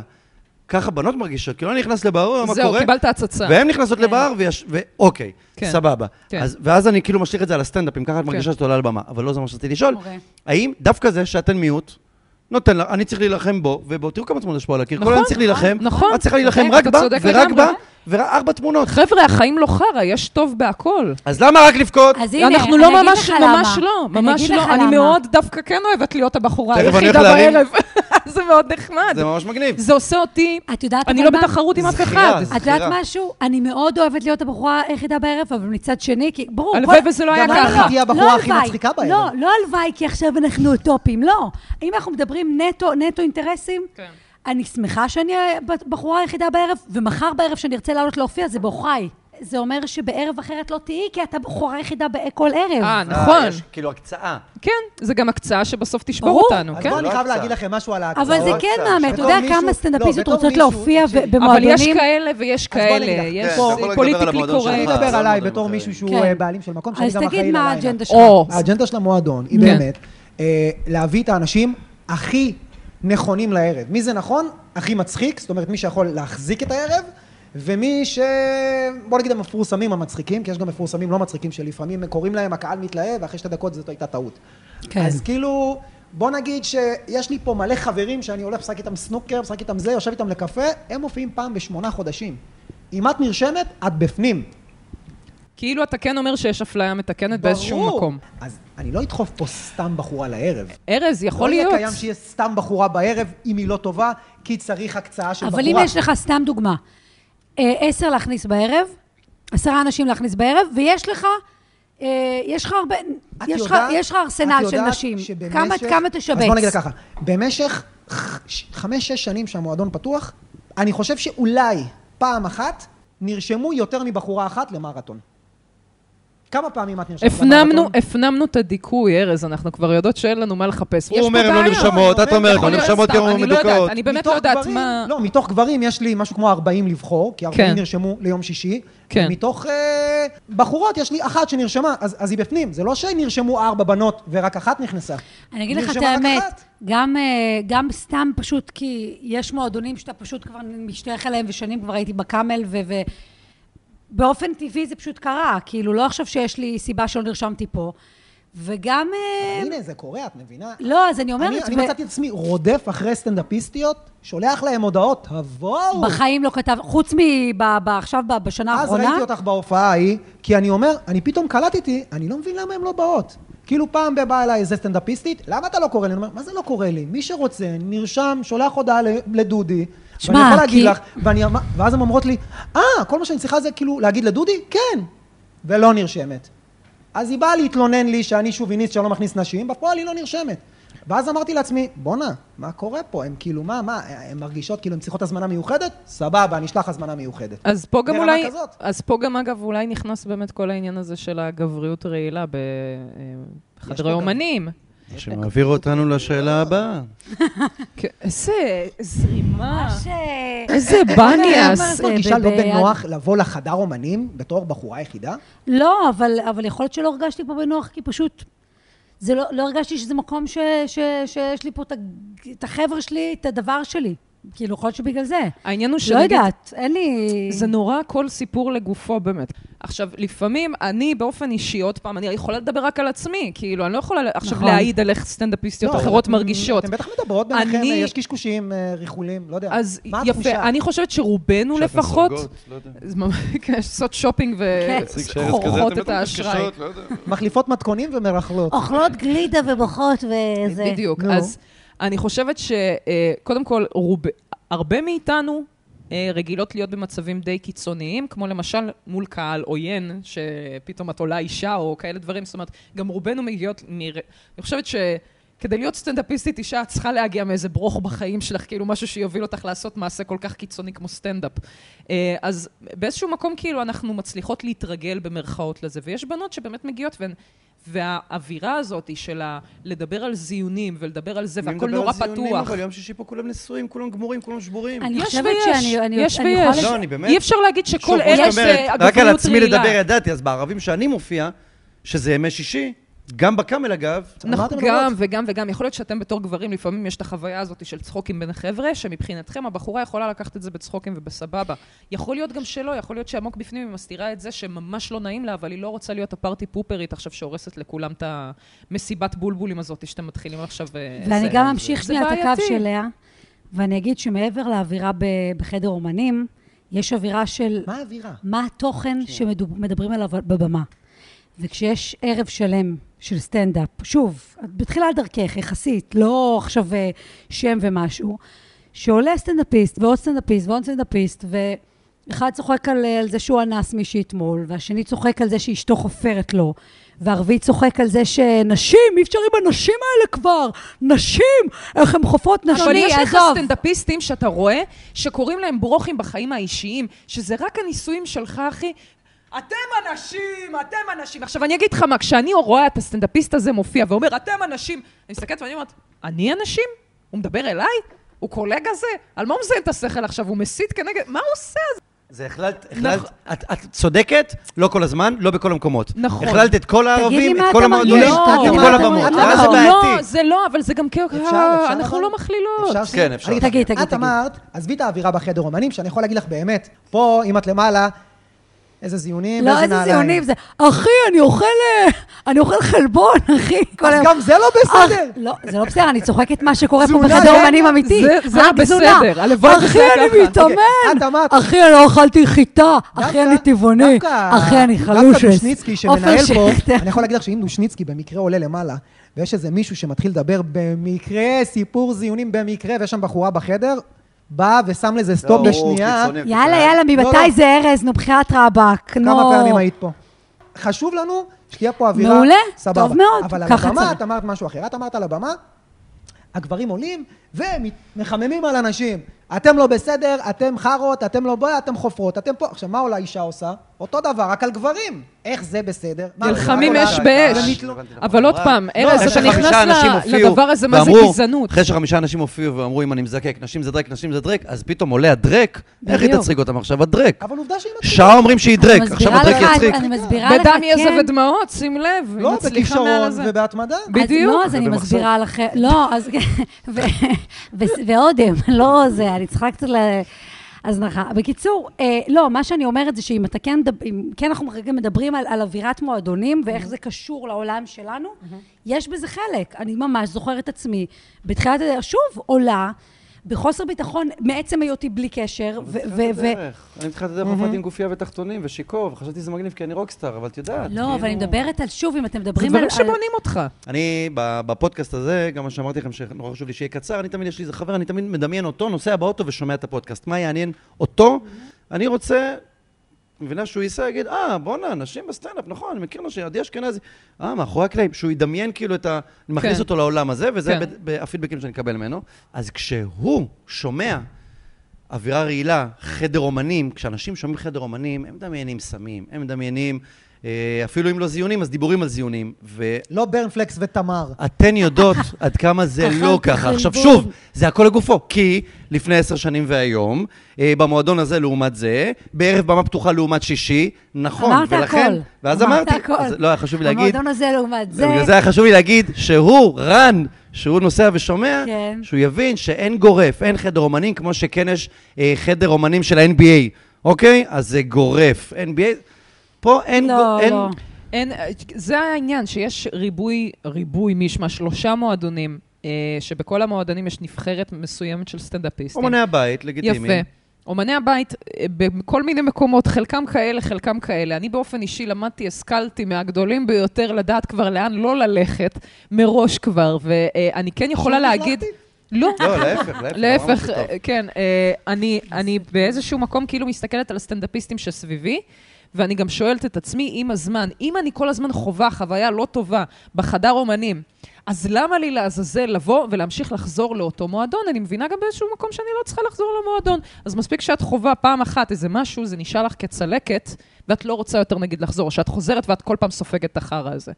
ככה בנות מרגישות, כאילו אני נכנס לבר, מה
זהו,
קורה?
קיבלת הצצה.
והן נכנסות לבר, ויש- ואוקיי,
כן.
סבבה.
כן.
אז- ואז אני כאילו משליך את זה על הסטנדאפ, אם ככה את מרגישה שאת עולה על במה. אבל לא זה מה שרציתי לשאול.
אוקיי.
האם דווקא זה שאתן מיעוט, נותן לה, אני צריך להילחם בו, ובו, תראו כמה תמונות יש פה על הקיר, כל
נכון,
היום צריך להילחם,
נכון.
את צריכה להילחם
אוקיי,
רק
אתה
בה,
צודק
ורק
לגמרי.
בה, וארבע תמונות.
חבר'ה, החיים לא חרא, יש טוב בהכל.
אז למה רק לבכות?
אז הנה,
אנחנו
אני
לא
אגיד
ממש,
לך למה.
ממש לא,
אני
ממש
אגיד
לא.
לך
אני
למה.
מאוד דווקא כן אוהבת להיות הבחורה
תכף אני
היחידה
הולך להרים.
בערב. <laughs> זה מאוד נחמד.
זה ממש מגניב.
זה עושה אותי...
את יודעת
אני
אבל
לא
מה?
בתחרות עם אף
זכירה,
אחד.
זה
את יודעת
בחירה.
משהו? אני מאוד אוהבת להיות הבחורה היחידה בערב, אבל מצד שני, כי ברור...
הלוואי
כל-
וזה לא היה
גם את
ככה.
תהיי הבחורה הכי מצחיקה בערב.
לא, לא הלוואי, כי עכשיו אנחנו אוטופים, לא. אם אנחנו מדברים נטו, נטו אינטרסים,
כן.
אני שמחה שאני הבחורה היחידה בערב, ומחר בערב שאני ארצה לעלות להופיע, זה בעוכריי. זה אומר שבערב אחרת לא תהיי, כי את הבחורה היחידה בע- כל ערב.
אה, נכון.
אה, יש כאילו הקצאה.
כן, זה גם הקצאה שבסוף תשבור
ברור.
אותנו,
אז
כן?
בואו אני
לא
חייב
הקצאה.
להגיד לכם משהו על ההקצאות.
אבל זה
לא
כן
הצעה,
מאמא, אתה
בתור
יודע
מישהו-
כמה סטנדאפיסטיות
לא, בתור
רוצות
מישהו-
להופיע
תקשיב.
ב-
אבל יש
במועדונים?
כאלה ויש
בוא
כאלה.
נגיד לך,
יש
כן, אתה
יכול לדבר על
פוליטיקלי
המועדון
קורקט.
אני
אה,
מדבר
זה
עליי
לא
בתור
דברים
מישהו שהוא
אחרים.
אה, בעלים של מקום שאני
כן. אז
גם אחראי
תגיד מה
ללילה.
האג'נדה שלך.
או,
האג'נדה של המועדון היא
כן.
באמת אה, להביא את האנשים הכי נכונים לערב. מי זה נכון? הכי מצחיק, זאת אומרת מי שיכול להחזיק את הערב, ומי ש... בוא נגיד המפורסמים המצחיקים, כי יש גם מפורסמים לא מצחיקים שלפעמים קוראים להם, הקהל מתלהב, ואחרי שתי דקות זאת הייתה טעות.
כן.
אז כאילו, בוא נגיד שיש לי פה מלא חברים שאני הולך, משחק איתם סנוקר, משחק איתם זה, יושב איתם לקפה, הם מופיעים פעם בשמונה חודשים. אם את נרשמת, את בפנים.
כאילו אתה כן אומר שיש אפליה מתקנת באיזשהו
ברור.
מקום.
אז אני לא אדחוף פה סתם בחורה לערב.
ארז, יכול
לא
להיות.
יהיה קיים שיהיה סתם בחורה בערב, אם היא לא טובה, כי צריך הקצאה של
אבל
בחורה.
אם יש לך, סתם דוגמה, אה, עשר להכניס בערב, עשרה אנשים להכניס בערב, ויש לך, אה, יש לך הרבה,
את
יש לך-
יודעת-
יש לך
את
ארסנל של
יודעת
נשים.
שבמשך-
כמה- כמה
אז
תשבץ.
בוא נגיד ככה, במשך ח- ש- חמש-שש שנים שהמועדון פתוח, אני חושב שאולי פעם אחת נרשמו יותר מבחורה אחת למרתון. כמה פעמים את נרשמת
הפנמנו,
למרתון?
הפנמנו את הדיכוי, ארז, אנחנו כבר יודעות שאין לנו מה לחפש. יש
הוא
פה
אומר, הן
בעיה.
לא נרשמות, את אומרת,
יכול
לא
להיות
נרשמות
סתם,
כי הן
אני לא יודעת,
מדוכאות.
אני באמת לא
מתוך
יודעת
גברים-
מה...
לא, מתוך גברים יש לי משהו כמו 40 לבחור, כי 40
כן.
נרשמו ליום שישי.
כן.
מתוך אה, בחורות יש לי אחת שנרשמה, אז אז היא בפנים. זה לא שנרשמו ארבע בנות ורק אחת נכנסה.
אני אגיד לך את
נרשמה רק
האמת,
אחת.
גם, אה, גם סתם פשוט כי יש מועדונים שאתה פשוט כבר משתייך אליהם, ושנים כבר הייתי בקאמל, ו... ו... באופן טבעי זה פשוט קרה, כאילו לא עכשיו שיש לי סיבה שלא נרשמתי פה, וגם... אה,
הנה, זה קורה, את מבינה?
לא, אז אני אומרת...
אני, אני
ו-
מצאתי את עצמי רודף אחרי סטנדאפיסטיות, שולח להם הודעות, תבואו.
בחיים לא כתב, חוץ מעכשיו, בשנה
אז
האחרונה,
ראיתי אותך בהופעה ההיא, כי אני אומר, אני פתאום קלטתי, אני לא מבין למה הן לא באות. כאילו פעם באה אליי איזה סטנדאפיסטית, למה אתה לא קורא לי? אני אומר, מה זה לא קורא לי? מי שרוצה, נרשם, שולח הודעה ל- לדודי.
שמע,
ואני יכול להגיד
כי-
לך, ואני, אמר- ואז הן אומרות לי, אה, כל מה שאני צריכה זה כאילו להגיד לדודי? כן. ולא נרשמת. אז היא באה להתלונן לי שאני שוביניסט שאני לא מכניס נשים, בפועל היא לא נרשמת. ואז אמרתי לעצמי, בואנה, מה קורה פה? הן כאילו, מה, מה, הן מרגישות כאילו הן צריכות הזמנה מיוחדת? סבבה, אני אשלח הזמנה מיוחדת.
אז פה גם
ברמה
אולי,
כזאת.
אז פה גם אגב אולי נכנס באמת כל העניין הזה של הגבריות רעילה אה,
פה
בחדרי
גם.
אומנים.
שמעביר אותנו לשאלה הבאה.
כן, איזה זרימה.
ש...
איזה
למה?
בניאס.
זאת מרגישה לא
ב- ב-
בנוח לבוא לחדר אומנים בתור בחורה יחידה?
לא, אבל, אבל יכול להיות שלא הרגשתי פה בנוח, כי פשוט... זה לא, לא הרגשתי שזה מקום ש, ש, שיש לי פה את הג- את החבר'ה שלי, את הדבר שלי. כאילו, יכול להיות שבגלל זה.
העניין הוא
לא
שנגיד,
יודעת, אין לי...
זה נורא כל סיפור לגופו באמת. עכשיו, לפעמים אני באופן אישי, עוד פעם, אני יכולה לדבר רק על עצמי, כאילו, אני לא יכולה עכשיו
נכון.
להעיד על איך סטנדאפיסטיות
לא,
אחרות
אתם-
מרגישות.
אתם בטח מדברות ביניכם,
אני-
יש קשקושים, אה, ריחולים, לא יודע.
אז
מה
יפה,
התחושה?
אני חושבת שרובנו
שאתן
לפחות...
סורגות, לא יודע.
אז ממש, <laughs> כן, לעשות שופינג
כן.
נציג שרץ כזה,
וחורכות
אתן
את
בטח
האשראי.
מקשקשות, לא יודע.
מחליפות מתכונים ומרכלות.
אוכלות גלידה ובוכות וזה.
בדיוק.
נו.
אז אני חושבת שקודם כל, רוב- הרבה מאיתנו אה, רגילות להיות במצבים די קיצוניים, כמו למשל מול קהל עוין, שפתאום את עולה אישה או כאלה דברים, זאת אומרת, גם רובנו מגיעות מ... אני חושבת ש... כדי להיות סטנדאפיסטית אישה, את צריכה להגיע מאיזה ברוך בחיים שלך, כאילו משהו שיוביל אותך לעשות מעשה כל כך קיצוני כמו סטנדאפ. אה, אז באיזשהו מקום, כאילו, אנחנו מצליחות להתרגל במרכאות לזה, ויש בנות שבאמת מגיעות והן... והאווירה הזאת היא של ה- לדבר על זיונים ולדבר על זה,
אני
והכל
מדבר על
נורא
ציונים,
פתוח.
אבל יום שישי פה כולם נשואים, כולם גמורים, כולם שבורים.
אני
יש
חושבת
ויש,
שאני- אני-
יש
אני יכולה
ויש.
לש-
לא, אני באמת-
אי אפשר להגיד שכל
שוב, כמו
אלה
שאת אומרת,
זה
רק על
הגבריות
עצמי לדבר
רעילה.
ידעתי, אז בערבים שאני מופיע, שזה ימי שישי, גם בקאמל אגב,
על מה
אנחנו
אתם
גם
מדברות?
וגם וגם, יכול להיות שאתם בתור גברים, לפעמים יש את החוויה הזאת של צחוקים בין החבר'ה, שמבחינתכם הבחורה יכולה לקחת את זה בצחוקים ובסבבה. יכול להיות גם שלא, יכול להיות שעמוק בפנים היא מסתירה את זה שממש לא נעים לה, אבל היא לא רוצה להיות הפארטי פופרית עכשיו שהורסת לכולם את המסיבת בולבולים הזאת שאתם מתחילים עכשיו... אה,
ואני
זה-
גם אמשיך
זה
שנייה את הקו
בעייתי.
שלה, ואני אגיד שמעבר לאווירה ב- בחדר אומנים, יש אווירה של...
מה האווירה?
מה התוכן שמדברים עליו בבמה. וכשיש ערב שלם של סטנדאפ, שוב, את בתחילת דרכך, יחסית, לא עכשיו אה, שם ומשהו, שעולה סטנדאפיסט ועוד סטנדאפיסט ועוד סטנדאפיסט, ואחד צוחק על, אה, על זה שהוא אנס מישהי אתמול, והשני צוחק על זה שאשתו חופרת לו, והרביעי צוחק על זה שנשים, אי אפשר עם הנשים האלה כבר, נשים, איך הן חופרות נשים,
אבל יש לך
עזוב.
סטנדאפיסטים שאתה רואה, שקוראים להם ברוכים בחיים האישיים, שזה רק הניסויים שלך, אחי. אתם אנשים, אתם אנשים. עכשיו, אני אגיד לך מה, כשאני רואה את הסטנדאפיסט הזה מופיע ואומר, אתם אנשים, אני מסתכלת ואני אומרת, אני אנשים? הוא מדבר אליי? הוא קולגה זה? על מה הוא מזיין את השכל עכשיו? הוא מסית כנגד... מה הוא עושה?
זה הכללת, הכללת,
נכון.
את- את צודקת, לא כל הזמן, לא בכל המקומות.
נכון.
הכללת את כל הערבים,
מה
את כל
אתה מרגיש,
המועדונים,
תגיד
את
לי
כל
מה אתה
הבמות.
מרגיש.
למה זה
לא,
לא,
בעייתי?
זה לא זה גם כאילו,
אפשר, אפשר,
אנחנו
אבל?
לא מכלילות.
אפשר שנייה?
כן, אפשר.
אני אגיד לך,
תגיד, תגיד,
את
תגיד.
אמרת, עזבי את האווירה בחדר אומנים, שאני יכול להגיד לך באמת, פה, אם את למעלה, איזה זיונים,
לא, איזה
נעליים.
זיונים זה. אחי, אני אוכל, אה, אני אוכל חלבון, <laughs> אחי. כל
אז
היום.
גם זה לא בסדר.
אח, לא, זה לא בסדר, אני צוחקת מה שקורה פה
תזונה,
בחדר
זה-
אומנים אמיתי.
זה- זה
רק תזונה.
בסדר, הלוואי
אחי,
שזה
אני
ככה.
אוקיי, את
מתאמן.
אמרת.
אחי, אני לא אכלתי חיטה. אחי,
דווקא-
אני טבעוני.
דווקא-
אחי, אני
דווקא
חלושס.
דושניצקי
עופר
שמנהל פה,
שכטר.
אני יכול להגיד לך שאם דושניצקי במקרה עולה למעלה, ויש איזה מישהו שמתחיל לדבר במקרה, סיפור זיונים במקרה, ויש שם בחורה בחדר, בא ושם לזה סטופ
לא,
בשנייה.
הוא קיצוני,
יאללה,
הוא
יאללה,
לא, לא.
ממתי זה ארז? נו, בחירת רבאק. נו.
כמה פעמים היית פה? חשוב לנו שתהיה פה אווירה.
מעולה,
סבבה.
טוב מאוד,
אבל על
ככה
הבמה
צריך.
את אמרת משהו אחר. את אמרת על הבמה, הגברים עולים ומתחממים על הנשים. אתם לא בסדר, אתם חארות, אתם לא בא, אתם חופרות, אתם פה. עכשיו, מה עולה אישה עושה? אותו דבר, רק על גברים. איך זה בסדר? מה,
נלחמים
מה עולה
אש
אישה?
באש.
זה לא מתלונן.
אבל עוד פעם,
לא
ארז, אתה נכנס ל- לדבר הזה, מה זה גזענות?
אחרי שחמישה אנשים הופיעו ואמרו, אם אני מזקק, נשים זה דרק, נשים זה דרק, אז פתאום עולה הדרק, איך היא
בדיוק.
תצחיק אותם עכשיו? הדרק.
אבל עובדה שהיא מצליחה.
שעה אומרים שהיא דרק,
אני
עכשיו
מסבירה
הדרק
לך,
יצחיק.
אני מסבירה לך,
בדם,
כן.
יזע אה, ודמעות, שים לב, היא
לא,
מצליחה מעל
בכישרון
הזה.
ובהתמדה.
בדיוק.
אז לא, אז אני
ובמחסור.
מסבירה לכם. לא, אז... ו- ו- ואודם, לא זה, אני צריכה קצת ל... הזנחה. בקיצור, אה, לא, מה שאני אומרת זה שאם אתה כן, דב- אם כן אנחנו כרגע מדברים על, על אווירת מועדונים ואיך זה קשור לעולם שלנו, יש בזה חלק. אני ממש זוכרת עצמי, בתחילת הדרך, שוב, עולה, בחוסר ביטחון, מעצם היותי בלי קשר, ו... ו- ו-
אני מתחילת הדרך הופעתי עם גופייה ותחתונים ושיכור, וחשבתי שזה מגניב כי אני רוקסטאר, אבל את יודעת.
לא, אבל אני מדברת על, שוב, אם אתם
זה
מדברים על...
לא
דברים
על-
שבונים אותך.
אני, ב- בפודקאסט הזה, גם מה שאמרתי לכם, שנורא חשוב לי שיהיה קצר, אני תמיד, יש לי איזה חבר, אני תמיד מדמיין אותו, נוסע באוטו ושומע את הפודקאסט. מה יעניין אותו?
Mm-hmm.
אני רוצה... מבינה שהוא ייסע, יגיד, אה, בואנה, נשים בסטנדאפ, נכון, אני מכיר נשים, עדי אשכנזי. אה, מאחורי הקלעים, שהוא ידמיין כאילו את ה... אני מכניס
כן.
אותו לעולם הזה, וזה
כן.
ב- ב- הפידבקים שאני מקבל ממנו. אז כשהוא שומע אווירה רעילה, חדר אומנים, כשאנשים שומעים חדר אומנים, הם מדמיינים סמים, הם מדמיינים, אה, אפילו אם לא זיונים, אז דיבורים על זיונים. ו...
לא ברנפלקס ותמר.
אתן
<laughs>
יודעות עד כמה זה
אכלת
לא ככה. עכשיו
חלבון.
שוב, זה הכל לגופו, כי לפני עשר שנים והיום, אה, במועדון הזה לעומת זה, בערב במה פתוחה לעומת שישי, נכון,
אמרת
ולכן...
הכל.
ואז
אמרת
אמרתי,
הכל.
אז לא היה חשוב לי להגיד,
המועדון הזה לעומת זה.
בגלל זה היה חשוב לי להגיד שהוא, רן, שהוא נוסע ושומע,
כן.
שהוא יבין שאין גורף, אין חדר אומנים, כמו שכן יש אה, חדר אומנים של ה-NBA, אוקיי? אז זה גורף, NBA... פה אין...
לא,
גו- אין-
לא.
אין, אה, זה העניין, שיש ריבוי, ריבוי, מי ישמע, שלושה מועדונים, אה, שבכל המועדונים יש נבחרת מסוימת של סטנדאפיסטים.
אומני הבית, לגיטימי.
יפה. אומני הבית, אה, בכל מיני מקומות, חלקם כאלה, חלקם כאלה. אני באופן אישי למדתי, השכלתי מהגדולים ביותר לדעת כבר לאן לא ללכת, מראש כבר, ואני כן יכולה
שוב
להגיד...
החלטתי?
לא,
לא, להפך, להפך. אמרנו
להפך,
שזה טוב.
אה, כן, אה, אני, אני באיזשהו מקום כאילו מסתכלת על הסטנדאפיסטים שסביבי, ואני גם שואלת את עצמי עם הזמן, אם אני כל הזמן חווה חוויה לא טובה בחדר אומנים, אז למה לי לעזאזל לבוא ולהמשיך לחזור לאותו מועדון? אני מבינה גם באיזשהו מקום שאני לא צריכה לחזור למועדון. אז מספיק שאת חווה פעם אחת איזה משהו, זה נשאר לך כצלקת, ואת לא רוצה יותר נגיד לחזור, או שאת חוזרת ואת כל פעם סופגת את החרא הזה.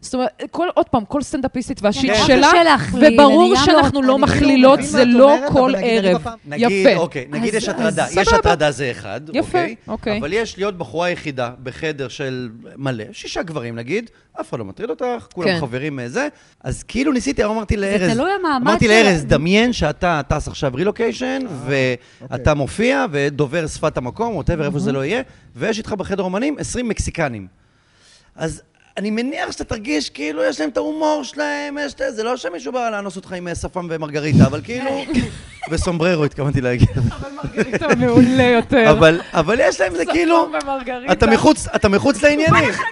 זאת אומרת, כל, עוד פעם, כל סטנדאפיסטית והשיט
החופש
שלה,
שלך, לי, כן. אני
וברור
גם
שאנחנו
מאוד-
לא
אני כאילו
מכלילות,
מבין
זה
מה את
לא
אומרת,
כל
אבל נגיד, אני
ערב.
בפעם-
נגיד,
יפה.
אוקיי, נגיד
אז-
יש הטרדה.
אז
יש
סבבה.
הטרדה זה אחד,
יפה,
אוקיי?
אוקיי.
אבל יש להיות בחורה יחידה בחדר של מלא, שישה גברים נגיד, אף אחד לא מטריד אותך, כולם
כן.
חברים אה, זה, אז כאילו ניסיתי, אמרתי לארז,
תלוי המעמד
אמרתי
של-
לארז, דמיין שאתה טס עכשיו רילוקיישן, ואתה מופיע ודובר שפת המקום, ווטאבר, איפה שזה לא יהיה, ויש איתך בחדר אומנים 20 מקסיקנים. אז אני מניח שאתה תרגיש כאילו יש להם את ההומור שלהם, יש את זה, זה לא שמישהו בא לאנוס אותך עם אה, שפם ומרגריטה, אבל
<laughs>
כאילו... וסומבררו התכוונתי להגיד.
אוקיי.
מרגריטה מעולה יותר.
אבל, אבל יש להם זה כאילו...
ומרגריטה.
אתה מחוץ, אתה מחוץ לעניינים.
חגיגה,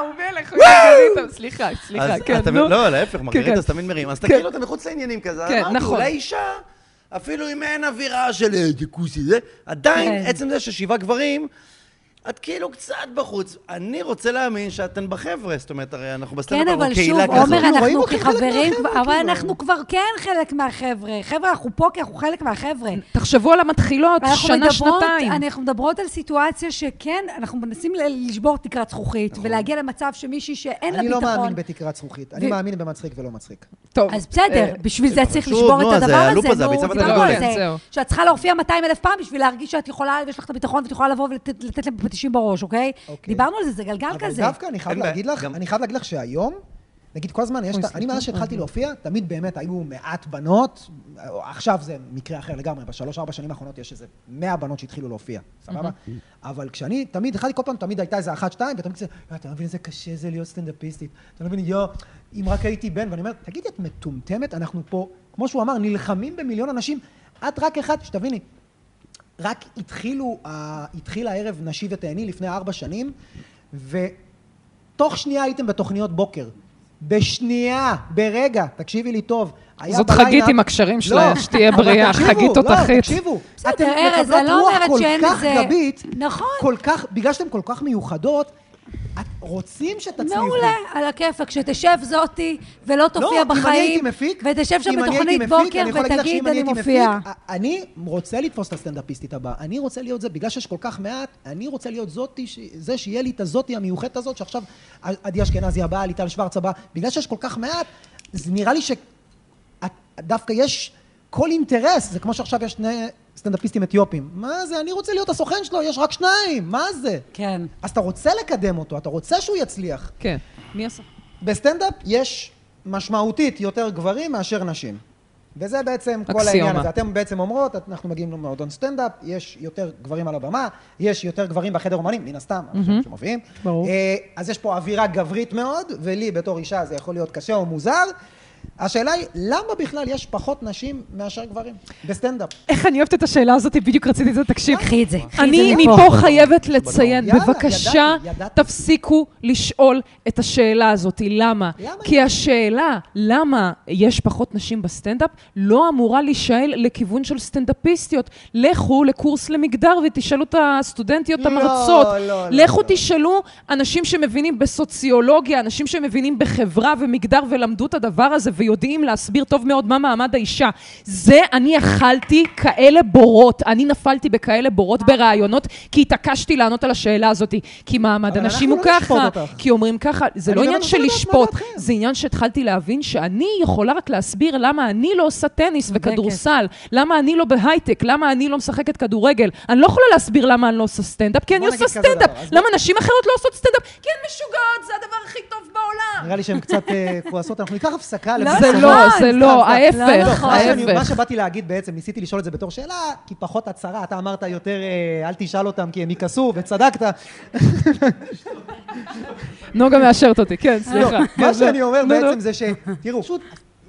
הוא מלך, הוא מרגריטה. סליחה,
אז
סליחה, כן,
אתה-
נו.
לא, להפך, מרגריטה
כן.
זה תמיד מרים. אז אתה
כן.
כאילו, אתה מחוץ לעניינים כזה.
כן,
אמרתי,
נכון.
אולי אישה, אפילו אם אין אווירה של אה, זה כוסי זה, עדיין,
כן.
עצם זה ששבעה גברים... את כאילו קצת בחוץ. אני רוצה להאמין שאתן בחבר'ה, זאת אומרת, הרי אנחנו בסטנדאפ,
כן,
אנחנו
אבל שוב,
קהילה כזאת.
עומר,
אנחנו רואים
אנחנו
בכם חלק
כחברים,
מהחבר'ה,
כבר- אבל
כאילו.
אנחנו כבר כן חלק מהחבר'ה. חבר'ה, אנחנו פה כי אנחנו חלק מהחבר'ה.
תחשבו על המתחילות,
אנחנו
שנה,
מדברות-
שנתיים.
אנחנו מדברות על סיטואציה שכן, אנחנו מנסים ל- לשבור תקרת זכוכית, ולהגיע למצב שמישהי שאין לה
אני לא
ביטחון.
מאמין בתקרת זכוכית. אני
ו-
מאמין במצחיק ולא מצחיק.
טוב.
אז
אה,
בסדר, בשביל זה צריך
שוב,
לשבור
נו,
את
אז
הדבר
הלופ
הזה,
הזה,
נו,
הביצה
דיברנו
והתרנגולת.
על זה. לא
כן, זהו.
שאת צריכה להופיע 200 אלף פעם בשביל להרגיש שאת יכולה, ויש לך את הביטחון ואת יכולה לבוא ולתת להם פטישים בראש, אוקיי?
אוקיי.
דיברנו על זה, זה גלגל
אבל
כזה.
דווקא אני חייב
אין בעיה,
להגיד לך,
גם-
אני חייב להגיד לך שהיום, נגיד כל הזמן יש,
אוי,
את ה- אני מאז שהתחלתי להופיע, תמיד באמת היו מעט בנות, עכשיו זה מקרה אחר לגמרי, בשלוש ארבע שנים האחרונות יש איזה מאה בנות שהתחילו להופיע, סבבה? אבל כשאני תמיד, התחלתי כל פעם, תמיד הייתה איזה אחת שתיים, ותמיד כזה, "אה, אתה לא מבין איזה קשה זה להיות סטנדאפיסטית, אתה לא מבין, יואו, אם רק הייתי בן, ואני אומר, תגידי, את מטומטמת? אנחנו פה, כמו שהוא אמר, נלחמים במיליון אנשים, את רק אחת, שתביני, רק התחילו, uh, התחיל הערב נשי ותהני לפני ארבע שנים, ותוך שנייה הייתם בתוכניות בוקר. בשנייה, ברגע, תקשיבי לי טוב. היה
זאת
בליינאפ-
חגית עם הקשרים שלה, שתהיה
אבל
בריאה,
תקשיבו,
חגית
לא,
תותחית.
תקשיבו, אתם
בסדר, ארז,
מקבלות
אני לא
רוח
אומרת
כל
שאין
כך
איזה-
גבית,
נכון.
כל כך, בגלל שאתן כל כך מיוחדות, את- רוצים שתצליחו.
מעולה, על הכיפאק, שתשב זאתי ולא תופיע
לא,
בחיים.
אם אני הייתי מפיק,
ותשב שם
אם אני הייתי
בתוכנית
מפיק,
בוקר
אני יכול להגיד לך שאם
ותגיד, אני
הייתי
מופיעה.
מפיק, א- אני רוצה לתפוס את הסטנדאפיסטית הבאה. אני רוצה להיות זה, בגלל שיש כל כך מעט, אני רוצה להיות זאתי, ש- זה שיהיה לי את הזאתי המיוחדת הזאת, שעכשיו עדי אשכנזי הבאה, ליטל שוורץ הבאה, בגלל שיש כל כך מעט, אז נראה לי שדווקא יש כל אינטרס, זה כמו שעכשיו יש שני סטנדאפיסטים אתיופים. מה זה, אני רוצה להיות הסוכן שלו, יש רק שניים, מה זה?
כן.
אז אתה רוצה לקדם אותו, אתה רוצה שהוא יצליח.
כן. מי עשה?
בסטנדאפ יש משמעותית יותר גברים מאשר נשים. וזה בעצם כל
אקסיומה.
העניין הזה. אתם בעצם אומרות, אנחנו מגיעים למועדון סטנדאפ, יש יותר גברים על הבמה, יש יותר גברים בחדר אומנים, מן הסתם, אנשים שמופיעים.
ברור.
אה, אז יש פה אווירה גברית מאוד, ולי בתור אישה זה יכול להיות קשה או מוזר. השאלה היא, למה בכלל יש פחות נשים מאשר גברים בסטנדאפ?
איך אני אוהבת את השאלה הזאת, בדיוק רציתי את זה,
אה,
תקשיב.
קחי את זה, קחי את זה
אני מפה חייבת לציין,
יאללה,
בבקשה,
ידעתי, ידעתי.
תפסיקו לשאול את השאלה הזאת. למה?
למה? לא?
כי השאלה למה יש פחות נשים בסטנדאפ לא אמורה להישאל לכיוון של סטנדאפיסטיות. לכו לקורס למגדר ותשאלו את הסטודנטיות, את
לא,
המרצות.
לא, לא,
לכו
לא.
תשאלו אנשים שמבינים בסוציולוגיה, אנשים שמבינים בחברה ומגדר ולמדו את הדבר הזה ויודעים להסביר טוב מאוד מה מעמד האישה. זה, אני אכלתי כאלה בורות, אני נפלתי בכאלה בורות
אה.
ברעיונות, כי התעקשתי לענות על השאלה הזאת, כי מעמד
אבל
הנשים
אנחנו
הוא
לא נשפוט
ככה,
אותך.
כי אומרים ככה, זה
אני
לא
גם
עניין
רוצה
של
לדעת מה
לשפוט,
דעתכם.
זה עניין שהתחלתי להבין שאני יכולה רק להסביר למה אני לא עושה טניס
צודקת.
וכדורסל, למה אני לא בהייטק, למה אני לא משחקת כדורגל. אני לא יכולה להסביר למה אני לא עושה סטנדאפ, כי אני
בוא נגיד
עושה
כזה
סטנדאפ.
דבר, אז
למה נשים אחרות לא עושות סטנדאפ? כי הן משוגעות, זה הדבר הכי טוב בעולם.
נראה לי שהן קצת אה, כועסות, אנחנו ניקח הפסקה.
לא
לבדוק
זה
את
לא,
נכון,
זה
סתם,
לא,
סתם. לא
ההפך,
נכון.
מה שאני- מה
ההפך.
שבאתי להגיד בעצם, ניסיתי לשאול את זה בתור שאלה, כי פחות הצהרה, אתה אמרת יותר אה, אל תשאל אותם כי הם יכעסו, וצדקת.
נוגה מאשרת אותי, כן, סליחה.
לא,
לא,
מה
לא.
שאני אומר
נו, נו.
בעצם זה ש... תראו, פשוט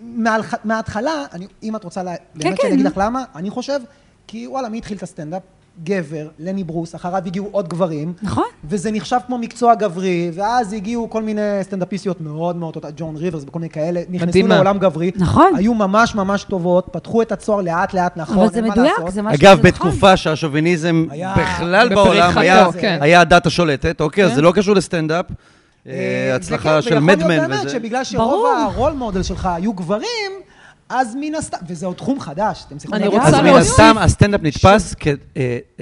מהלח- מההתחלה, אני- אם את רוצה לה- באמת
כן.
שאני אגיד לך למה, אני חושב, כי וואלה, מי התחיל את הסטנדאפ? גבר, לני ברוס, אחריו הגיעו עוד גברים.
נכון.
וזה נחשב כמו מקצוע גברי, ואז הגיעו כל מיני סטנדאפיסטיות מאוד מאוד, אותה ג'ון ריברס וכל מיני כאלה, נכנסו
מדהימה.
לעולם גברי.
נכון.
היו ממש ממש טובות, פתחו את הצוהר לאט לאט, נכון,
אבל זה
אין מה
מדויק,
לעשות.
זה משהו
אגב,
שזה נכון.
בתקופה שהשוביניזם
היה-
בכלל
בפריחתו,
בעולם היה-
כן.
היה הדת השולטת, אוקיי? אז
כן.
זה לא קשור לסטנדאפ. אה,
אה,
כן,
הצלחה
וכן,
של
ויכול להיות
מדמן
באמת
וזה.
שבגלל שרוב
ברור.
הרול מודל שלך היו גברים, אז מן הסתם, וזה עוד תחום חדש, אתם צריכים...
אני
לדעת.
רוצה
אז מן
להוסיף-
הסתם הסטנדאפ נתפס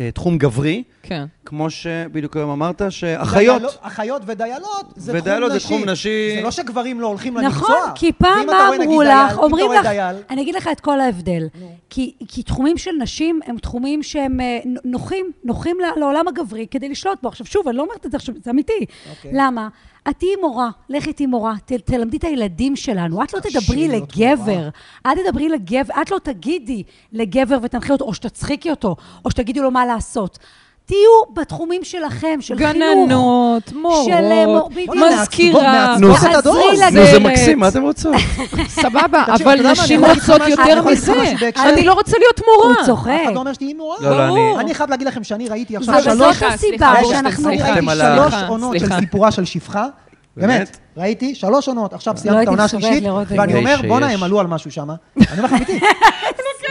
כתחום גברי,
כן.
כמו שבדיוק היום אמרת, שאחיות...
דייל- אחיות ודיילות זה תחום נשי.
ודיילות זה תחום נשי.
זה לא שגברים לא הולכים למקצוע.
נכון, כי פעם
ואם
מה
אתה רואה, נגיד,
אמרו
דייל,
לך, אומרים
אם אתה
לך,
רואה דייל,
אני אגיד לך את כל ההבדל. כי כי תחומים של נשים הם תחומים שהם אה, נ- נוחים, נוחים ל- לעולם הגברי כדי לשלוט בו. עכשיו שוב, אני לא אומרת את זה עכשיו, זה אמיתי.
אוקיי.
למה? את תהיי מורה, לכי תהיי מורה, ת- תלמדי את הילדים שלנו. את לא
קשה
תדברי
להיות מורה.
לגבר, את תדברי לגבר, את לא תגידי לגבר ותנחי אותו, או שתצחיקי אותו, או שתגידי לו מה לעשות. תהיו בתחומים שלכם, של חינוך.
גננות,
של, אה, מור-
מורות,
בדיוק.
מזכירה,
נו,
תעזרי
נו,
נו, זה
עוזרת.
מקסים, מה אתם רוצות?
סבבה,
תקשיב, אתה יודע
אבל
מה,
נשים
אני אגיד לך
רוצות
משהו,
יותר
אני אגיד לך
מזה.
משהו בהקשר-
אני לא רוצה להיות מורה.
הוא צוחק.
אף אחד לא אומר שתהיי מורה.
לא, לא,
ברור.
אני...
אני חייב להגיד לכם שאני ראיתי עכשיו
אבל
סליחה,
שלוש...
זאת הסיבה
סליחה,
שאנחנו
אני
אה, סליחה,
ראיתי
אוקיי, ראיתי
סליחה,
שלוש
סליחה,
עונות של
סליחה.
סיפורה של שפחה. באמת,
באמת?
ראיתי שלוש עונות, עכשיו סיימתי את
לא הייתי
העונה
מסוגלת
השלישית,
לראות את
ואני
זה.
אומר,
שיש.
בואנה, הם עלו על משהו
<laughs>
שם. אני אומר לך אמיתי.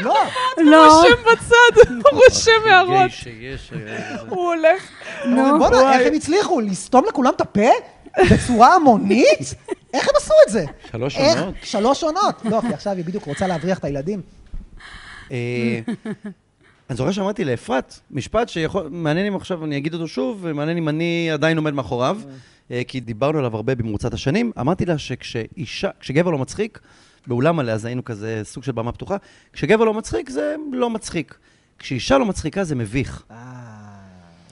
לא,
לא,
רושם בצד, הוא רושם הערות. הוא הולך.
נו.
בואנה, איך הם הצליחו? לסתום לכולם את הפה? בצורה המונית? איך הם עשו את זה?
שלוש
איך?
עונות?
שלוש עונות. לא, כי עכשיו היא בדיוק רוצה להבריח את הילדים.
אה, אני זוכר שאמרתי לאפרת משפט שיכול... מעניין אם עכשיו אני אגיד אותו שוב, ומעניין אם אני עדיין עומד מאחוריו, אה, כי דיברנו עליו הרבה במרוצת השנים. אמרתי לה שכשאישה, כשגבר לא מצחיק, באולם עליה אז היינו כזה סוג של במה פתוחה, כשגבר לא מצחיק זה לא מצחיק. כשאישה לא מצחיקה זה מביך.
אה,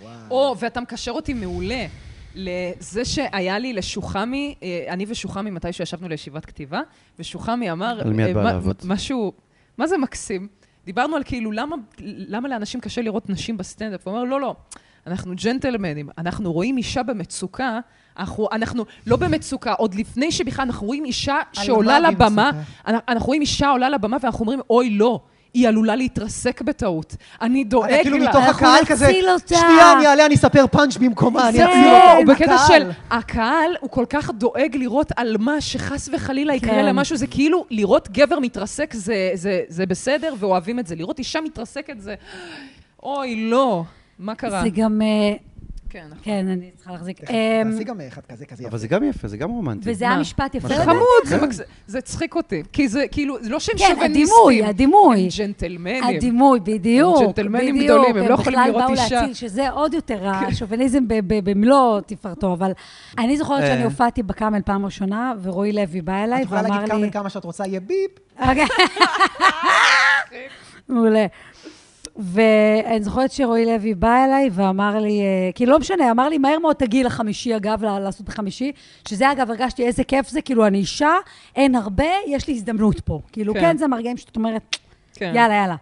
וואו.
או, ואתה מקשר אותי מעולה. לזה שהיה לי לשוחמי, אה, אני ושוחמי מתי שישבנו לישיבת כתיבה, ושוחמי אמר...
על מי את
אה,
באה
מה-
לעבוד?
משהו, מה זה מקסים? דיברנו על כאילו, למה, למה לאנשים קשה לראות נשים בסטנדאפ? הוא אומר, לא, לא, אנחנו ג'נטלמנים, אנחנו רואים אישה במצוקה, אנחנו, אנחנו לא במצוקה, עוד לפני שבכלל אנחנו רואים אישה
מה
שעולה
והיא
לבמה,
מצוקה?
אנחנו, אנחנו רואים אישה עולה לבמה ואנחנו אומרים, אוי, לא. היא עלולה להתרסק בטעות. אני דואג לה.
כאילו מתוך
אה, אנחנו
הקהל כזה,
נציל אותה.
שנייה, אני אעלה, אני אספר פאנץ' במקומה, אני
זה-
אציל אותה.
הוא לא בקטע
הקהל.
של הקהל, הוא כל כך דואג לראות על מה שחס וחלילה יקרה
כן.
למשהו, זה כאילו לראות גבר מתרסק זה- זה- זה בסדר, ואוהבים את זה. לראות אישה מתרסקת זה, אוי, לא, מה קרה?
זה גם... אה,
כן, נכון.
כן, אני צריכה להחזיק. אמ,
אה, תעשי גם אחד כזה, כזה יפה.
אבל זה גם יפה, זה גם רומנטי.
וזה היה
מה?
משפט
מה
יפה.
זה
זה
לדעתי.
חמוד, זה מגז- זה הצחיק אותי. כי זה כאילו, זה לא שהם
כן,
שוביניסטים.
הדימוי, הדימוי.
הם ג'נטלמנים.
הדימוי, בדיוק.
הם ג'נטלמנים
בדיוק.
גדולים, הם לא יכולים לראות
בכלל באו
אישה. כן.
להציל, שזה עוד יותר השוביניזם ב- ב- במלוא תפארתו, אבל אני זוכרת
אה.
שאני הופעתי בקאמל פעם ראשונה, ורועי לוי בא
את
אליי
יכולה
ואמר
להגיד כמה
לי...
כמה שאת רוצה, יהיה ביפ.
<laughs>
אוקיי. מעולה. ואני זוכרת שרועי לוי בא אליי ואמר לי, אה, כאילו לא משנה, אמר לי, מהר מאוד תגיעי לחמישי, אגב, ל- לעשות בחמישי, שזה אגב, הרגשתי איזה כיף זה, כאילו אני אישה, אין הרבה, יש לי הזדמנות פה. כאילו,
כן.
כן, זה מהרגעים שאת אומרת,
כן.
יאללה, יאללה.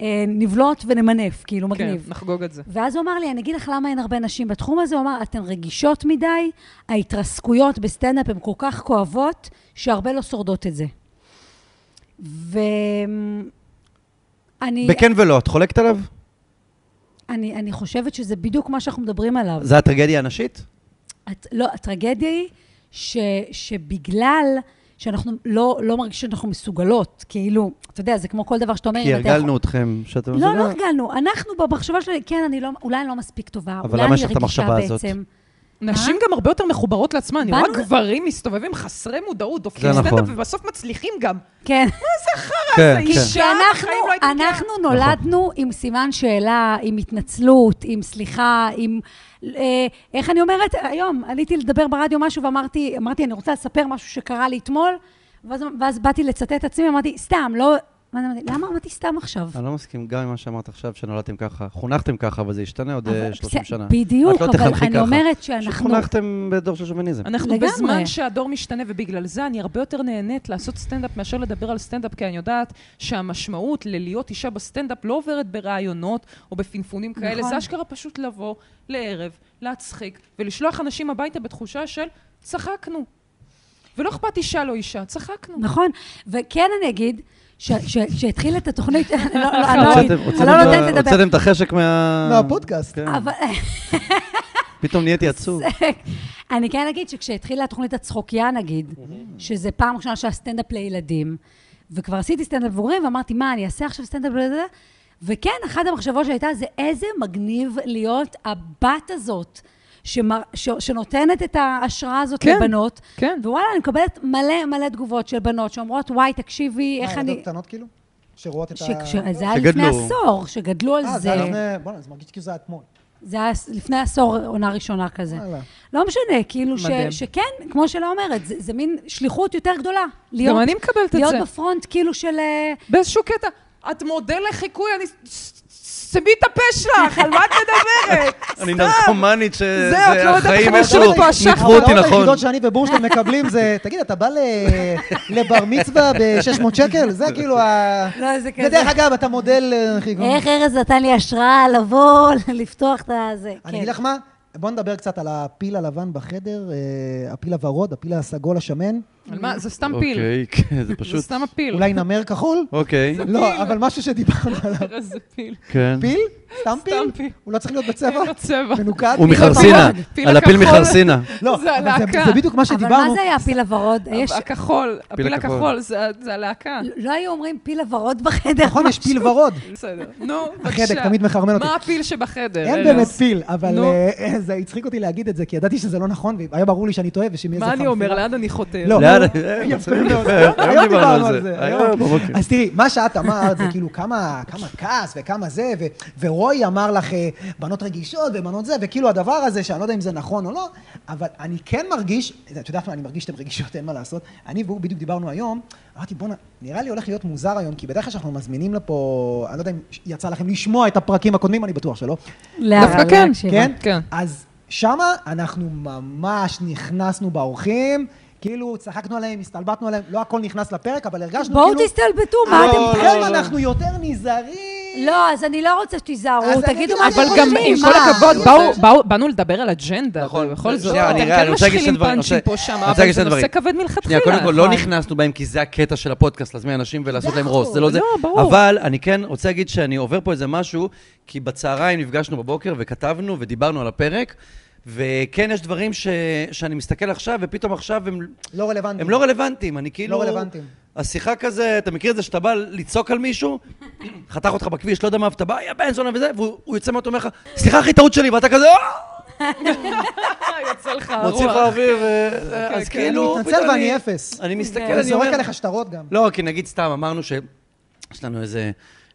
אה, נבלוט ונמנף, כאילו, מגניב.
כן, נחגוג את זה.
ואז הוא אמר לי, אני אגיד לך למה אין הרבה נשים בתחום הזה, הוא אמר, אתן רגישות מדי, ההתרסקויות בסטנדאפ הן כל כך כואבות, שהרבה לא שורדות את זה. ואני
בכן ולא, את חולקת עליו?
אני, אני חושבת שזה בדיוק מה שאנחנו מדברים עליו.
זה הטרגדיה הנשית?
הט, לא, הטרגדיה היא ש, שבגלל שאנחנו לא, לא מרגישים שאנחנו מסוגלות, כאילו, אתה יודע, זה כמו כל דבר שאתה אומר,
כי
אם אתה יכול-
הרגלנו אתכם, שאתם... זה
לא, לא הרגלנו. אנחנו במחשבה שלנו, כן, אני לא, אולי אני לא מספיק טובה,
אבל
אולי
למה
אני
יש לך את
רגישה
המחשבה הזאת?
בעצם.
נשים גם הרבה יותר מחוברות לעצמן. אני רואה
באנו-
גברים מסתובבים חסרי מודעות, דופקים
זה
סטנדאפ
נכון.
ובסוף מצליחים גם.
כן.
כן,
אישה.
כן.
כי אה, אנחנו,
בחיים לא הייתי מגיעה.
אנחנו
נכון.
נולדנו עם סימן שאלה, עם התנצלות, עם סליחה, עם... אה, איך אני אומרת? היום עליתי לדבר ברדיו משהו ואמרתי, אמרתי, אני רוצה לספר משהו שקרה לי אתמול, ואז, ואז באתי לצטט את עצמי, אמרתי, סתם, לא... ואז אמרתי, למה אמרתי סתם עכשיו?
אני לא מסכים גם עם מה שאמרת עכשיו, שנולדתם ככה. חונכתם ככה, אבל זה ישתנה עוד
אבל
אה, 30
זה-
שנה.
בדיוק,
את לא
אבל
תחנכי
אני
ככה.
אומרת שאנחנו-
פשוט חונכתם בדור של שוביניזם.
אנחנו
לגמרי.
בזמן שהדור משתנה, ובגלל זה אני הרבה יותר נהנית לעשות סטנדאפ מאשר לדבר על סטנדאפ, כי אני יודעת שהמשמעות ללהיות אישה בסטנדאפ לא עוברת ברעיונות או בפינפונים כאלה.
נכון.
זה אשכרה פשוט לבוא לערב, להצחיק, ולשלוח אנשים הביתה בתחושה של צחקנו. ולא אכפת אישה לא אישה, צחקנו.
נכון, וכן אני אגיד, ש- ש- שהתחיל את התוכנית, <laughs> לא, לא, אני לא אגיד,
הוצאתם- הוצאתם
אני לא
את ה-
נותנת לדבר.
הוצאתם את החשק מה...
לא. מהפודקאסט.
כן.
אבל-
פתאום נהייתי עצוב.
אני כן אגיד שכשהתחילה התוכנית הצחוקיה, נגיד, שזה פעם ראשונה שהיה סטנדאפ לילדים, וכבר עשיתי סטנדאפ לבוגרים, ואמרתי, מה, אני אעשה עכשיו סטנדאפ לילדים? וכן, אחת המחשבות שהייתה זה איזה מגניב להיות הבת הזאת. שמר, ש, שנותנת את ההשראה הזאת
כן,
לבנות.
כן.
ווואלה, אני מקבלת מלא מלא תגובות של בנות שאומרות, וואי, תקשיבי,
מה,
איך
ילדות
אני...
קטנות כאילו? שרואות את
ש,
ה...
ש, זה היה לפני
שגדלו.
עשור, שגדלו על
אה,
זה.
זה היה לפני... בוא'נה, זה מרגיש כאילו זה היה אתמול.
<laughs> זה היה לפני עשור, עונה ראשונה כזה.
וואלה.
לא משנה, כאילו ש,
מדהים.
שכן, כמו שלה אומרת, זה, זה מין שליחות יותר גדולה. להיות,
גם אני מקבלת את
להיות
זה.
בפרונט כאילו של... אה,
באיזשהו קטע, את מודל לחיקוי, אני... שמי את הפה שלך, על מה את מדברת?
אני נרקומנית ש...
זהו, את לא יודעת
החיים
איך
איכשהו
נולדת פה, השחר.
ניתחו אותי
ההודעות
נכון.
לא היחידות שאני ובורשטיין מקבלים זה, תגיד, אתה בא
<laughs>
ל- לבר מצווה ב-600 שקל? זה כאילו ה...
לא, זה כזה.
ודרך אגב, אתה מודל אה, הכי גדול.
איך ארז נתן לי השראה לבוא, <laughs> לפתוח את כן. הזה.
אני אגיד לך מה, בוא נדבר קצת על הפיל הלבן בחדר, אה, הפיל הוורוד, הפיל הסגול השמן,
כאילו.
על מה? זה סתם פיל.
אוקיי, כן, זה
זה
פשוט...
סתם הפיל.
אולי נמר כחול?
אוקיי,
כאילו.
לא, אבל משהו שדיברנו עליו.
איזה פיל.
כן.
פיל? סתם
פיל.
פיל? הוא לא צריך להיות
<laughs>
בצבע?
אין לו צבע.
מנוקד?
הוא
פיל
מחרסינה,
לבן?
פיל
על הפיל
הכחול.
מחרסינה.
לא,
זה
אבל
הלהקה.
זה בדיוק מה
אבל מה
שדיברנו.
זה היה הפיל הוורוד? יש...
הכחול, הפיל
הכחול.
הכחול, זה זה הלהקה.
לא היו אומרים פיל הוורוד בחדר.
נכון, יש פיל ורוד.
בסדר.
<laughs>
נו, בבקשה.
החדק תמיד מחרמן אותי.
מה הפיל שבחדר? אה, לא.
אין
ארז?
באמת פיל, אבל
נו.
אה, זה הצחיק אותי להגיד את זה, כי ידעתי שזה לא נכון, והיה ברור לי שאני טועה, ושמי איזה
מה אני אומר?
חרסינה.
לאן אני חותר?
לא.
לאן?
יפה מאוד.
היום
היום דיברנו על זה. אה,
היום בבוקר.
אז תראי, מה שאת אמרת זה כאילו כמה כמה כעס וכמה זה, ו- ורוי אמר לך אה, בנות רגישות ובנות זה, וכאילו הדבר הזה, שאני לא יודע אם זה נכון או לא, אבל אני כן מרגיש, את יודעת מה, אני מרגיש שאתם רגישות, אין מה לעשות. אני והוא בדיוק דיברנו היום, אמרתי בואנה, נראה לי הולך להיות מוזר היום, כי בדרך כלל שאנחנו מזמינים לפה, אני לא יודע אם יצא לכם לשמוע את הפרקים הקודמים, אני בטוח שלא.
לא,
דווקא כן,
כן?
כן.
אז שמה אנחנו ממש נכנסנו באורחים, כאילו צחקנו עליהם, הסתלבטנו עליהם, לא הכל נכנס לפרק, אבל הרגשנו כאילו...
בואו תסתלבטו, מה
לא,
אתם...
לא, לא. אנחנו יותר נזהרים.
לא, אז אני לא רוצה שתיזהרו,
אז אני
תגידו
גם-
מה אתם
אבל
חושבים.
גם עם כל
מה?
הכבוד, באו- באו- באנו לדבר על אג'נדה, ובכל זאת,
שנייה, אני
אתם
רגע, אני
כן
רוצה להגיד שני
משחילים
דברים, אני
פאנצ'ים
רוצה-
פה שם,
אני רוצה
אבל
להגיד
זה
שני
נושא
דברים.
כבד
שנייה,
מלכתחילה.
קודם כל, לא
נכון.
נכנסנו בהם כי זה הקטע של הפודקאסט, להזמין אנשים ולעשות להם רוס, זה לא זה.
לא, ברור.
אבל אני כן רוצה להגיד שאני עובר פה איזה משהו, כי בצהריים נפגשנו בבוקר וכתבנו ודיברנו על הפרק, וכן יש דברים ש- שאני מסתכל עכשיו, ופתאום עכשיו הם...
לא רלוונטי.
הם לא רלוונטיים, אני כאילו...
לא רלוונטיים.
השיחה כזה, אתה מכיר את זה שאתה בא לצעוק על מישהו, <clears throat> חתך אותך בכביש, לא יודע מה, ואתה בא, יא בן זונה וזה, והוא הוא יוצא מאותו אומר לך, סליחה אחי, טעות שלי, ואתה כזה, "אה!"
יוצא לך
מוציא לך
הרוח.
אוויר, אה,
כן,
אז
כן.
כאילו...
אני מתנצל
פתאום
ואני אפס.
אני מסתכל,
אני
כן, אני
זורק
אומר...
עליך שטרות גם.
לא, כי נגיד סתם, אמרנו ש... יש לנו איזה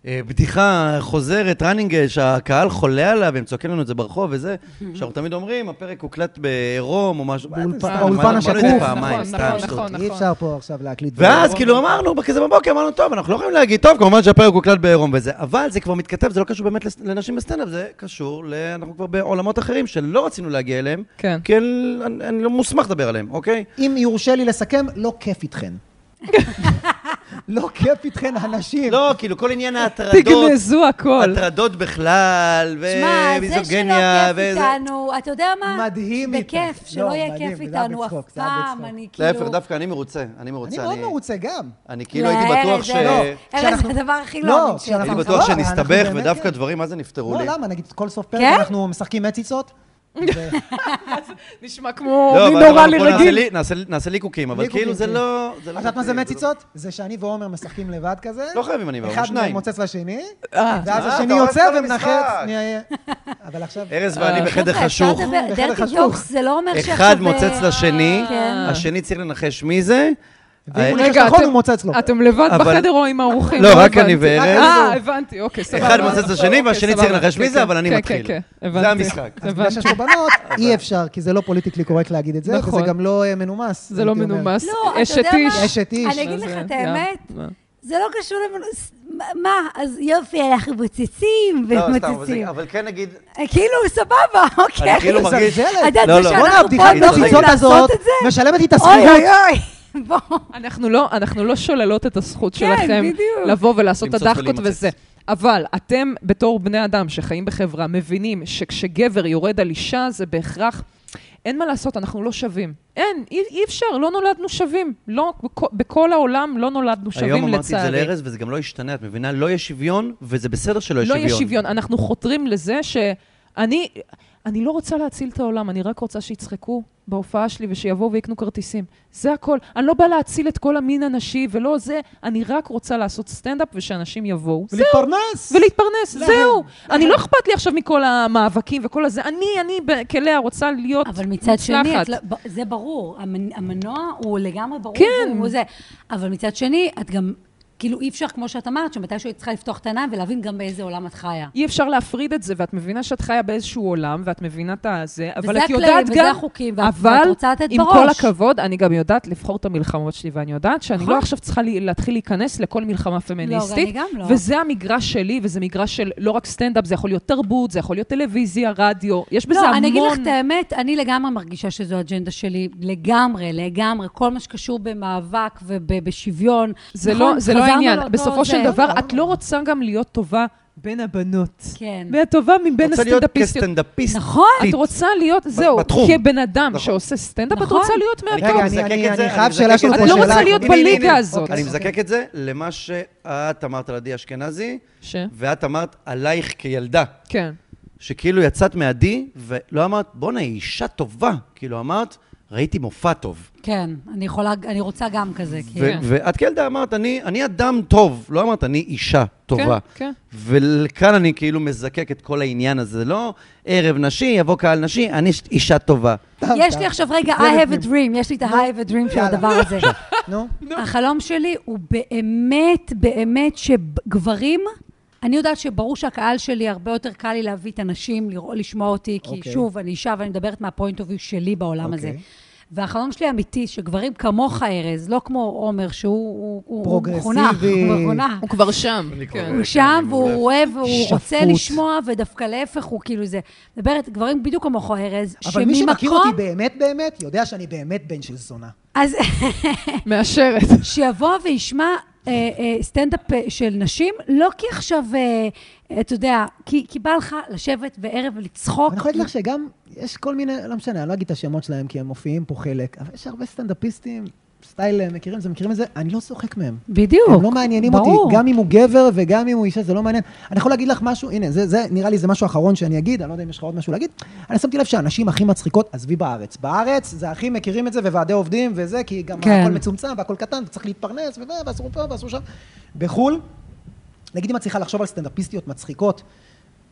אה, בדיחה חוזרת, running, שהקהל חולה עליו, הם צועקים לנו את זה ברחוב וזה, שאנחנו תמיד אומרים, הפרק הוקלט בעירום או משהו. אה,
באולפן-
סתם,
באולפן
אמרנו את זה
השקוף.
פעמיים,
נכון,
סתם,
נכון,
שטות.
נכון.
אי אפשר פה עכשיו להקליט.
ואז כאילו אמרנו, כזה בבוקר, אמרנו, טוב, אנחנו לא יכולים להגיד, טוב, כמובן שהפרק הוקלט בעירום וזה, אבל זה כבר מתכתב, זה לא קשור באמת לס- לנשים בסטנדאפ, זה קשור, ל- אנחנו כבר בעולמות אחרים שלא רצינו להגיע אליהם,
כן.
כי אין- אני אני לא מוסמך לדבר עליהם, אוקיי?
אם יורשה לי לסכם, לא
<laughs>
כיף איתכן. לא כיף איתכן, הנשים.
לא, כאילו, כל עניין ההטרדות,
תגנזו הכל.
הטרדות בכלל,
שמע, זה שלא
ומיזוגניה,
כיף
וזה...
איתנו, אתה יודע מה?
אה, מדהים
זה
איתו.
כיף,
לא,
שלא יהיה
מדהים,
כיף
זה היה
איתנו אף
בצחוק, זה היה
פעם,
בצחוק.
אני כאילו...
להפך, דווקא אני מרוצה, אני מרוצה.
אני מאוד מרוצה גם.
אני כאילו הייתי
לא,
בטוח
ארז,
ש...
ארז, ארז,
כשאנחנו-
זה הדבר הכי
לא,
לא אמיתי שלך.
כשאנחנו-
הייתי
אבל
בטוח
סבבה, אנחנו
שנסתבך,
באמת
ודווקא
כן.
דברים, מה זה נפתרו
לא,
לי?
למה? נגיד, כל סוף פרק
כן?
אנחנו משחקים מציצות? ו-
נשמע כמו
לא,
מי
אבל
נורמלי
אמרנו, בוא נעשה
רגיל.
לי- נעשה- נעשה ליקוקים, אבל
ליקוקים,
כאילו זה
כן.
לא... זה
את
לא
יודעת מה זה
ליקוקים, לא-
מציצות? זה שאני ועומר משחקים לבד כזה.
לא חייבים אני ועומר,
אחד
שניים.
מוצץ לשני,
אה,
ואז
אה,
השני
אתה הורס
יוצא
כל
ומנחת.
המשחק.
שנייה, אבל עכשיו...
ארז ואני
אה,
בחדר
חבר'ה, אפשר
חשוך,
לדבר-
בחדר
dirty
חשוך.
jokes, זה לא אומר שעכשיו...
אחד
אה,
מוצץ לשני,
כן.
השני צריך לנחש מי זה.
ואם הוא
אה,
נחש
רגע,
נכון,
אתם-
הוא מוצץ לו.
אתם לבד
אבל-
בחדר או עם האורחים?
לא, רק אני
הבנתי.
וארז.
אה, הבנתי, אוקיי, סבבה.
אחד מוצא את השני
אוקיי,
והשני
סבבה.
צריך לנחש מי
כן,
זה,
כן.
אבל אני
כן,
מתחיל.
כן, כן, הבנתי.
זה
<laughs>
המשחק.
אז בגלל שיש פה בנות,
אה,
אי אפשר, כי זה לא פוליטיקלי קורקט להגיד את זה, וזה
נכון.
גם לא אה, מנומס.
זה לא
הייתי אומר.
מנומס.
לא, אתה
אשת
יודע
איש.
מה?
אשת איש.
אני אגיד
אז,
לך
אה,
את
יא,
האמת,
מה?
זה לא קשור למנוס... מה, אז יופי, אנחנו מוצצים
לא, סתם, אבל
ומוצצים.
זה- אבל כן נגיד,
אה, כאילו, סבבה, אוקיי.
אני כאילו מרגיש...
מזלזלת.
את יודעת,
לא, לא.
זה
בואנה,
שאנחנו פה
הבדיחת
אני לא
מציצות
יכולים
הזאת
לעשות את זה?
משלמת לי את
אוי
השכירות.
אוי אוי, <laughs> בוא.
אנחנו לא, אנחנו לא שוללות את הזכות
כן,
שלכם
בדיוק.
לבוא ולעשות את
למצוץ
הדחקות
ולהימצץ.
וזה. אבל אתם, בתור בני אדם שחיים בחברה, מבינים שכשגבר יורד על אישה, זה בהכרח... אין מה לעשות, אנחנו לא שווים. אין, אי, אי אפשר, לא נולדנו שווים. לא, בכ, בכל העולם לא נולדנו שווים, לצערי.
היום אמרתי את זה לארז, וזה גם לא ישתנה, את מבינה? לא יהיה שוויון, וזה בסדר שלא יהיה
לא
שוויון.
יהיה שוויון. אנחנו חותרים לזה שאני... אני לא רוצה להציל את העולם, אני רק רוצה שיצחקו בהופעה שלי ושיבואו ויקנו כרטיסים. זה הכל. אני לא באה להציל את כל המין הנשי ולא זה, אני רק רוצה לעשות סטנדאפ ושאנשים יבואו. זהו.
ולהתפרנס.
ולהתפרנס,
להם,
זהו. אני לא אכפת לי עכשיו מכל המאבקים וכל הזה. אני, אני ב- כלאה רוצה להיות
אבל מצד שני,
מוצלחת.
את לא, ב- זה ברור, המנ- המנוע הוא לגמרי ברור,
כן.
הוא זה. אבל מצד שני, את גם, כאילו אי אפשר, כמו שאת אמרת, שמתישהו היית צריכה לפתוח את העיניים ולהבין גם באיזה עולם את חיה.
אי אפשר להפריד את זה, ואת מבינה שאת חיה באיזשהו עולם, ואת מבינה את הזה, אבל
וזה
את יודעת גם...
הכללים, וזה החוקים, ואת-
אבל
ואת רוצה לתת
עם
בראש.
כל הכבוד, אני גם יודעת לבחור את המלחמות שלי, ואני יודעת שאני
נכון.
לא עכשיו צריכה לי- להתחיל להיכנס לכל מלחמה פמיניסטית.
אני גם לא.
וזה המגרש שלי, וזה מגרש של לא רק סטנדאפ, זה יכול להיות תרבות, זה יכול להיות טלוויזיה, רדיו, יש בזה
לא,
המון...
אני אגיד לך את האמת, אני לגמרי מרגישה שזו אג'נדה שלי, לגמרי, לגמרי. כל מה שקשור במאבק ובשוויון.
זה
נכון,
לא, זה לא
חזרנו
העניין.
לאותו
בסופו
זה.
של דבר, את לא רוצה גם להיות טובה בין הבנות.
כן.
והטובה מבין
רוצה להיות
הסטנדאפיסטיות.
כסטנדאפיסט.
נכון.
את רוצה להיות, זהו,
בתחום.
כבן אדם
נכון.
שעושה סטנדאפ, את
נכון.
רוצה להיות
אני
מהטוב.
רגע,
כאילו
אני-
מזקק
אני-
את זה,
אני חייב
מזקק
שאלה
את
של
זה.
את לא
הנה,
רוצה
הנה,
להיות
הנה,
בליגה
הנה.
הזאת.
אני
אוקיי.
מזקק את זה למה שאת אמרת על עדי אשכנזי,
ש...
ואת אמרת עלייך כילדה.
כן.
שכאילו יצאת מעדי, ולא אמרת, בואנה, היא אישה טובה. כאילו אמרת, ראיתי מופע טוב.
כן, אני יכולה, אני רוצה גם כזה. כאילו.
כן.
ו- ואת כילדה אמרת, אני אני אדם טוב, לא אמרת, אני אישה טובה.
כן,
וכאן אני כאילו מזקק את כל העניין הזה, לא ערב נשי, יבוא קהל נשי, אני ש- אישה טובה.
טעם,
יש
טעם.
לי עכשיו רגע, I
זה
have a
בפנים.
dream, יש לי את ה-I have a dream של
יאללה.
הדבר הזה.
<laughs> נו.
החלום שלי הוא באמת, באמת שגברים, אני יודעת שברור שהקהל שלי, הרבה יותר קל לי להביא את הנשים, לראות, לשמוע אותי, כי
אוקיי.
okay. שוב, אני אישה ואני מדברת מהפוינט אוף יו שלי בעולם okay. הזה.
אוקיי.
והחלום שלי אמיתי, שגברים כמוך, ארז, לא כמו עומר, שהוא הוא- הוא- הוא
פרוגרסיבי. אוקיי.
מחונך, הוא מחונך.
הוא כבר שם. כן.
הוא שם, והוא רואה, והוא
שפוט.
רוצה לשמוע, ודווקא להפך, הוא כאילו זה... מדברת, גברים בדיוק כמוך, ארז,
אבל מי שמכיר אותי
שממקום...
באמת באמת, יודע שאני באמת בן של זונה.
אז...
מאשרת.
שיבוא וישמע אה, אה, סטנדאפ אה, של נשים, לא כי עכשיו, אה, אתה יודע, כי, כי בא לך לשבת בערב ולצחוק.
אני יכול להגיד לך שגם, יש כל מיני, לא משנה, אני לא אגיד את השמות שלהם, כי הם מופיעים פה חלק, אבל יש הרבה סטנדאפיסטים, סטייל, אה, מכירים את זה, מכירים את זה, אני לא צוחק מהם.
בדיוק.
הם לא מעניינים אותי,
ברור.
גם אם הוא גבר וגם אם הוא אישה, זה לא מעניין. אני יכול להגיד לך משהו, הנה, זה, זה נראה לי זה משהו אחרון שאני אגיד, אני לא יודע אם יש לך עוד משהו להגיד. אני שמתי לב שהנשים הכי מצחיקות, עזבי בארץ. בארץ, זה הכי מכירים את זה, וועדי עובדים וזה, כי גם
כן.
הכל מצומצם והכל קטן, וצריך להתפרנס, וזה, ואסור פה ואסור שם. בחו"ל, נגיד אם את צריכה לחשוב על סטנדאפיסטיות מצחיקות,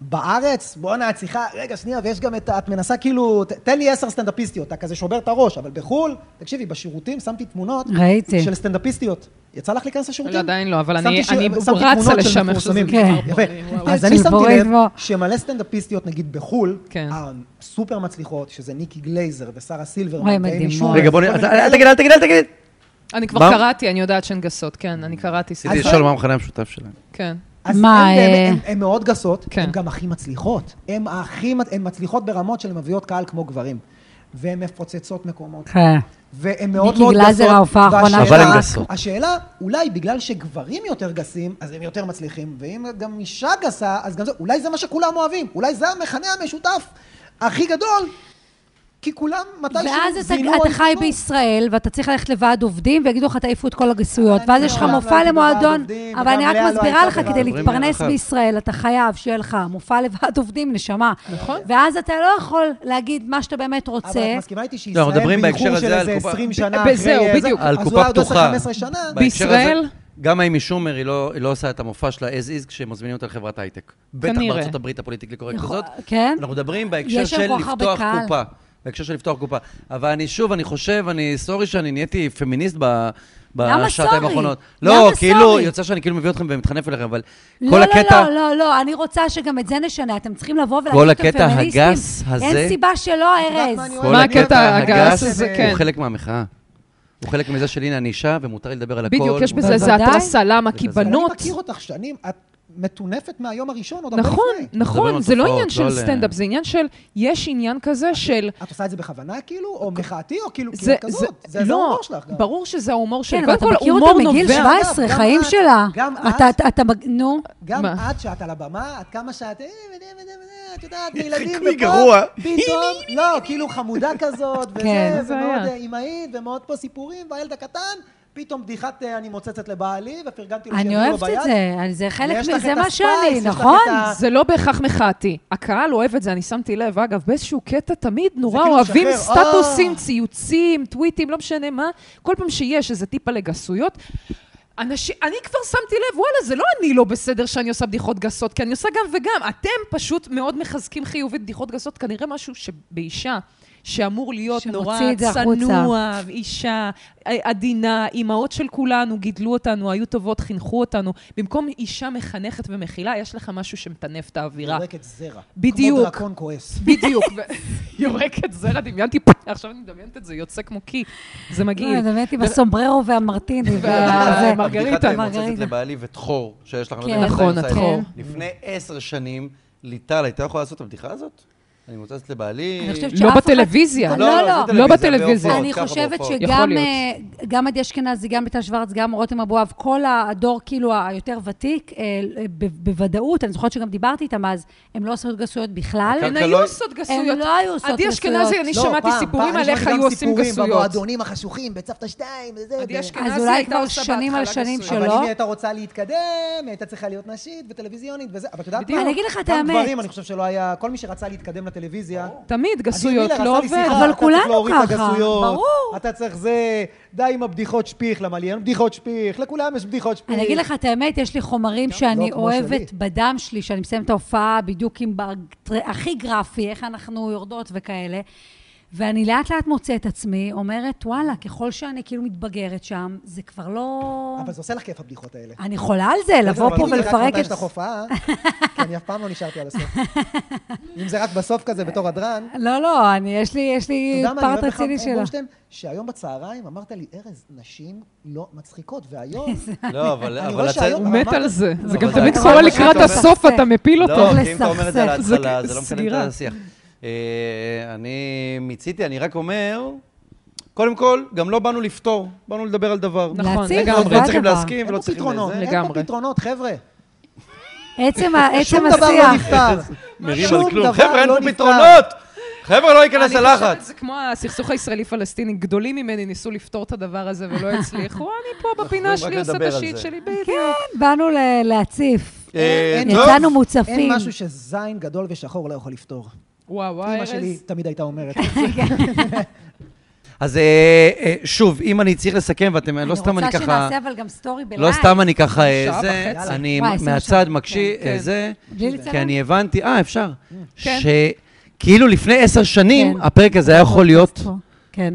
בארץ, בואנה, את צריכה, רגע, שנייה, ויש גם את, ה- את מנסה כאילו, ת, תן לי עשר סטנדאפיסטיות, אתה כזה שובר את הראש, אבל בחו"ל, תקשיבי, בשירותים שמתי תמונות
ראיתי.
של סטנדאפיסטיות. יצא לך להיכנס לשירותים?
עדיין לא, אבל
שמתי
אני-
ש-
אני
שמתי
רצה
תמונות של
לשם איך שזה
מפורסמים. אוקיי.
נגמר
פה,
יפה.
אני- וואו.
אז אני
של
שמתי
בורא
לב
בו.
שמלא סטנדאפיסטיות, נגיד בחו"ל,
כן.
הסופר מצליחות, שזה ניקי גלייזר ושרה
וואי,
סילברמן,
מדהימות.
רגע, בוא נ...
וכל מיני
אל
כאלה.
תגיד, אל תגיד, אל תגיד.
אני כבר
מה?
קראתי, אני יודעת שהן גסות, כן, אני קראתי
רציתי
סיפור.
אז-
לשאול מה המכנה המשותף שלהם.
כן.
אז
מה,
הן
אה,
באמת, הן- הן מאוד גסות,
כן.
הן גם הכי מצליחות. הן הכי, מצ- הן מצליחות ברמות שהן מביאות קהל כמו גברים. והן מפוצצות מקומות.
כן.
והן מאוד
ניקי
מאוד גסות.
גלזר, ההופעה האחרונה
והשאלה-
אבל הן גסות.
השאלה, אולי בגלל שגברים יותר גסים, אז הם יותר מצליחים, ואם גם אישה גסה, אז גם זה, אולי זה מה שכולם אוהבים. אולי זה המכנה המשותף הכי גדול, כי כולם מתישהו
ואז אתה,
זינו על
אתה חי
סיפור.
בישראל, ואתה צריך ללכת לוועד עובדים, ויגידו לך, תעיפו את כל הגסויות.
אני
ואז יש לך
מעולם לא
מופע
הייתי בוועד
למועדון,
עובדים,
אבל אני
וגם
רק
לאה לא
מסבירה
הייתה
לך,
בוועד
כדי
עובדים.
להתפרנס
אומרים לי,
בישראל, אתה חייב שיהיה לך מופע לוועד עובדים, נשמה.
נכון.
ואז אתה לא יכול להגיד מה שאתה באמת
אבל
רוצה.
את מסכימה איתי
לא, אנחנו
שישראל
מדברים בהקשר
באיחור
הזה
של
על
איזה
קופה-
20 שנה
ב-
אחרי...
זהו,
זה,
בדיוק.
אז
על
אולי
קופה
עוד 10-15
פתוחה.
שנה.
בהקשר הזה,
בישראל?
גם האמי שומר, היא לא, היא לא עושה את המופע שלה as is כשמזמינים אותה לחברת הייטק. בטח
כנראה.
בארצות הברית הפוליטיקלי קורקט
יכול-
הזאת.
כן?
אנחנו מדברים בהקשר
יש שם
של
כל כך הרבה
לפתוח
קהל.
קופה. בהקשר של לפתוח קופה. אבל אני שוב, אני חושב, אני סורי שאני נהייתי פמיניסט ב...
למה
בשעתיים
sorry?
האחרונות.
למה
לא, כאילו,
sorry?
יוצא שאני כאילו מביא אתכם ומתחנף אליכם, אבל
לא,
כל
לא,
הקטע...
לא, לא, לא, אני רוצה שגם את זה נשנה. אתם צריכים לבוא
כל
ולהגיד שאתם
הקטע
פמיניסטים.
הגס הזה-
אין סיבה שלא, ארז.
כל מה הקטע הגס הזה? כן.
הוא חלק מהמחאה. הוא חלק מזה של הנה אני אישה ומותר לי לדבר על הכל.
בדיוק, יש בזה
מותר-
איזה
בוודאי.
התרסה, למה? כי
בגלל זה.
אני
בנות...
מכיר אותך שנים, את מטונפת מהיום הראשון, עוד הרבה לפני.
נכון,
מדברים
נכון,
על
זה לא
תופעות,
עניין של
לא על-
סטנדאפ, זה עניין של, יש עניין כזה של...
את עושה את זה בכוונה, כאילו? או מחאתי, או כאילו,
נכון. זה,
כאילו כזאת? זה
לא,
ההומור שלך גם.
ברור שזה ההומור שלי.
כן, אבל
קודם
אתה
כל,
מכיר
הומור
אותה מגיל
נובע-
17,
גם
חיים
את-
שלה.
גם
אתה,
את. לא,
אתה, אתה, מג- נו.
גם
מה?
את, שאת על הבמה, את כמה שאת... אה, וזה, וזה, וזה, את יודעת, ילדים
חיקוי גרוע.
<laughs>
פתאום, לא, כאילו חמודה כזאת,
כן.
וזה,
זה היה.
ומאוד אה, אמהית, ומאוד פה סיפורים, והילד הקטן, פתאום בדיחת אה, אני מוצצת לבעלי, ופרגנתי לו שיביאו
אני
לו ביד.
אוהבת את זה, אני- זה חלק,
ויש
מ-
לך
זה
את
מה
הספייס,
שאני,
יש לך
נכון?
את ה-
זה לא בהכרח מחאתי. הקהל אוהב את זה, אני שמתי לב. אגב, באיזשהו קטע תמיד נורא
כאילו
אוהבים
משחרר,
סטטוסים,
אה.
ציוצים, טוויטים, לא משנה מה. כל פעם שיש איזה טיפה לגסויות. אנשים, אני כבר שמתי לב, וואלה, זה לא אני לא בסדר שאני עושה בדיחות גסות, כי אני עושה גם וגם. אתם פשוט מאוד מחזקים חיובית בדיחות גסות, כנראה משהו שבאישה, שאמור להיות
שמוציא
נורא
את זה החוצה.
צנוע, אישה אה, עדינה, אימהות של כולנו גידלו אותנו, היו טובות, חינכו אותנו. במקום אישה מחנכת ומכילה, יש לך משהו שמטנף את האווירה.
יורקת זרע.
בדיוק.
כמו דרקון כועס. <laughs>
בדיוק. <laughs> ו- יורקת זרע, דמיינתי, פ- עכשיו אני מדמיינת את זה, יוצא כמו קי. זה מגעיל.
לא, זה באמת עם הסומבררו והמרטיני.
אה,
אה,
וזה.
ומרגריטה.
בדיחת מוצצת
מרגריטה.
לבעלי ותחור, שיש לך, אני לא
כן.
יודע איך אתה
נכון,
עושה את
התחור.
זה. לפני עשר שנים, ליטל הייתה יכולה לעשות את הבדיחה הזאת? אני מוצצת לבעלי...
אני חושבת
לא
שאף אחד- לא,
בטלוויזיה.
לא,
עזבי טלוויזיה,
לא בטלוויזיה.
בהופעות,
מאוד
אני
ככה
חושבת
בהופעות.
יכול
שגם
להיות.
אה, גם עדי אשכנזי, גם מיטל שוורץ, גם רותם אבואב, כל הדור כאילו היותר ותיק, אה, אה, ב- בוודאות, אני זוכרת שגם דיברתי איתם אז, הם לא עושות גסויות בכלל.
הקרקע
הן
לא-
היו עושות גסויות.
הן לא היו עושות
עדי אשכנזי,
גסויות.
אני
לא,
שמעתי
פעם,
סיפורים
פעם,
על
אני
איך
שמעתי גם
היו עושים
סיפורים
גסויות.
במועדונים החשוכים, בצפתא שתיים, וזה.
עדי
ו-
אשכנזי
אז אולי
הייתה
כבר
עושה
שנים על
בהתחלה
שנים
גסויות.
שלא.
אבל אם היא הייתה רוצה להתקדם, היא הייתה צריכה להיות נשית וטלוויזיונית וזה, אבל את יודעת
בדיוק.
מה?
אני אגיד לך את
גם
האמת.
גברים, אני חושב שלא היה, כל מי שרצה להתקדם לטלוויזיה...
תמיד, גסויות
אדיר מילר
לא
עשה לי
עובד.
שיחה,
אבל
אתה
כולנו
צריך להוריד את
ככה,
הגסויות,
ברור.
אתה צריך זה, די עם הבדיחות שפיך, למה לי אין בדיחות שפיך, לכולם יש בדיחות שפיך.
אני אגיד לך את האמת, יש לי חומרים שאני
לא כמו
אוהבת
שלי.
בדם שלי, שאני מסיימת את ההופעה בדיוק עם בטר- הכי גרפי, איך אנחנו יורדות וכאלה. ואני לאט לאט מוצאת עצמי, אומרת, וואלה, ככל שאני כאילו מתבגרת שם, זה כבר לא...
אבל זה עושה לך כיף הבדיחות האלה.
אני חולה על זה, לבוא
אבל
פה
אם זה רק
ולפרק
מתי
את...
שאתה הופעה, כי אני אף פעם לא נשארתי על הסוף.
<laughs>
אם זה רק בסוף כזה, בתור הדרן,
לא, לא, אני, יש לי, יש לי
אתה יודע מה, אני
פרט
אוהב לך,
רציני שלה.
בורשטיין, שהיום בצהריים אמרת לי, ארז, נשים לא מצחיקות, והיום...
לא, אבל...
אני
אבל
רואה
הצד-
שהיום-
הוא מת על זה. זה
אבל
לא,
גם
זה
תמיד
היה
קורה
כבר
לקראת
משהו
הסוף,
טוב.
אתה מפיל אותו.
לא, כי אם אתה אומר את זה על
לסכסך.
ההתחלה, זה לא מקדם
סגירה.
את השיח. אה, אני מיציתי, אני רק אומר, קודם כל, גם לא באנו לפתור, באנו לדבר על דבר.
נכון,
להציל,
לגמרי.
אנחנו
זה
לא צריכים
הדבר.
להסכים
אין
ולא
פה
צריכים
פתרונות,
לזה.
אין פה
לגמרי.
פתרונות, חבר'ה.
עצם ה- עצם
<laughs> שום דבר לא
השיח.
נפתר.
מרים
שום
על כלום.
דבר
חבר'ה, אין
לא
פה
נפתר.
פתרונות! חבר'ה, לא ייכנס
אני חושבת
ללחץ.
זה כמו הסכסוך הישראלי-פלסטיני, גדולים ממני ניסו לפתור את הדבר הזה ולא הצליחו, אני פה בפינה
רק
שלי עושה את
לדבר על
השיט
זה.
שלי, בדיוק.
כן, באנו ל- להציף.
אה,
אין-
טוב.
יצאנו מוצפים.
אין משהו שזין גדול ושחור לא יכול לפתור.
וואו, וואי,
אמא שלי
ארז.
תמיד הייתה אומרת.
אז אה, אה, שוב, אם אני צריך לסכם, ואתם, לא סתם אני ככה...
אני רוצה שנעשה אבל גם סטורי בלייב.
לא סתם אני ככה אה,
שעה
זה,
וחצי.
אני
וואי, עשינו
מהצד
שעה.
מקשיב,
כן,
אה,
כן.
זה,
בלי לצלם?
כי אני הבנתי, אה, אפשר,
כן.
שכאילו לפני עשר שנים,
כן.
הפרק הזה היה יכול להיות,
פה. כן,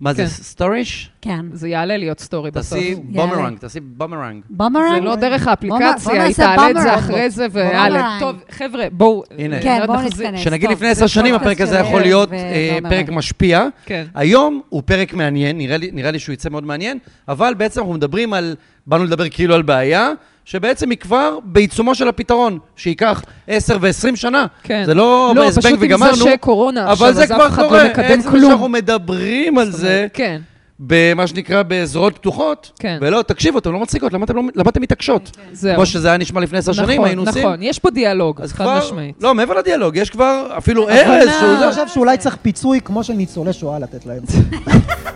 מה זה,
כן.
סטוריש?
כן.
זה יעלה להיות סטורי בסוף.
תעשי בומרנג, תעשי בומרנג.
בומרנג?
זה לא דרך
אוקיי. בוא
האפליקציה, היא
נעשה
תעלה את זה
בומרנג.
אחרי זה, ויאללה.
בומרנג.
טוב, חבר'ה, בואו.
הנה.
כן, בואו
נחזיק-
נתכנס.
שנגיד
טוב,
לפני
זה
עשר שנים
פודקאסט
הפרק הזה
של
יכול
ארז
להיות
ו-
אה,
ועומר.
פרק משפיע.
כן.
היום הוא פרק מעניין, נראה לי- נראה לי שהוא יצא מאוד מעניין, אבל בעצם אנחנו מדברים על, באנו לדבר כאילו על בעיה, שבעצם היא כבר בעיצומו של הפתרון, שייקח 10 ו-20 שנה.
כן.
זה לא
לא,
בהזבנג
פשוט עם
וגמרנו.
זה שקורונה עכשיו,
אבל זה
אז אף
כבר
אחד לא
קורה.
מקדם
עצם זה
כלום.
שאנחנו מדברים על זה,
כן.
במה שנקרא בזרועות פתוחות,
כן.
ולא, תקשיבו, אתם לא מצחיקות, למה אתם לא- למה אתם מתעקשות?
זהו.
כמו שזה היה נשמע לפני עשר שנים,
נכון,
היינו עושים.
נכון, יש פה דיאלוג,
אז
חד
כבר,
משמעית.
לא, מעבר לדיאלוג, יש כבר אפילו ארז שהוא...
אני חושב שאולי צריך פיצוי כמו של ניצולי שואה לתת להם.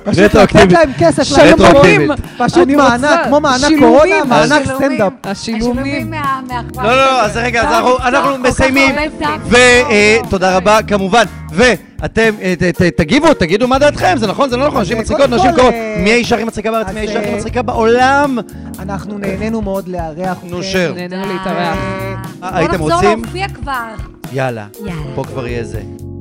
פשוט לתת
רטרואקטיבית.
להם כסף,
שלומים.
שלומים. פשוט
אני
מענק,
רוצה
כמו מענק
שילומים.
קורונה, מענק
השילומים.
סטנדאפ.
השילומים.
מה- מהקוואטר.
לא, לא, לא, אז רגע, אז
טוב,
אנחנו-
טוב, כל
אנחנו
כך
מסיימים, אה,
הרבה טעם.
ותודה רבה כמובן, ואתם אה, ת- ת- תגיבו, תגידו מה דעתכם, זה נכון, זה לא נכון, נשים
אה,
מצחיקות,
קודם
נשים
כל,
קורות,
אה,
מי האישה הכי מצחיקה בארץ,
אז,
מי האישה הכי
אה,
מצחיקה בעולם,
אנחנו נהנינו מאוד לארח
נו,
אתכם.
שר.
נהנינו להתארח.
אה, הייתם
בוא נחזור
רוצים?
להופיע כבר.
יאללה,
יאללה.
פה כבר יהיה זה.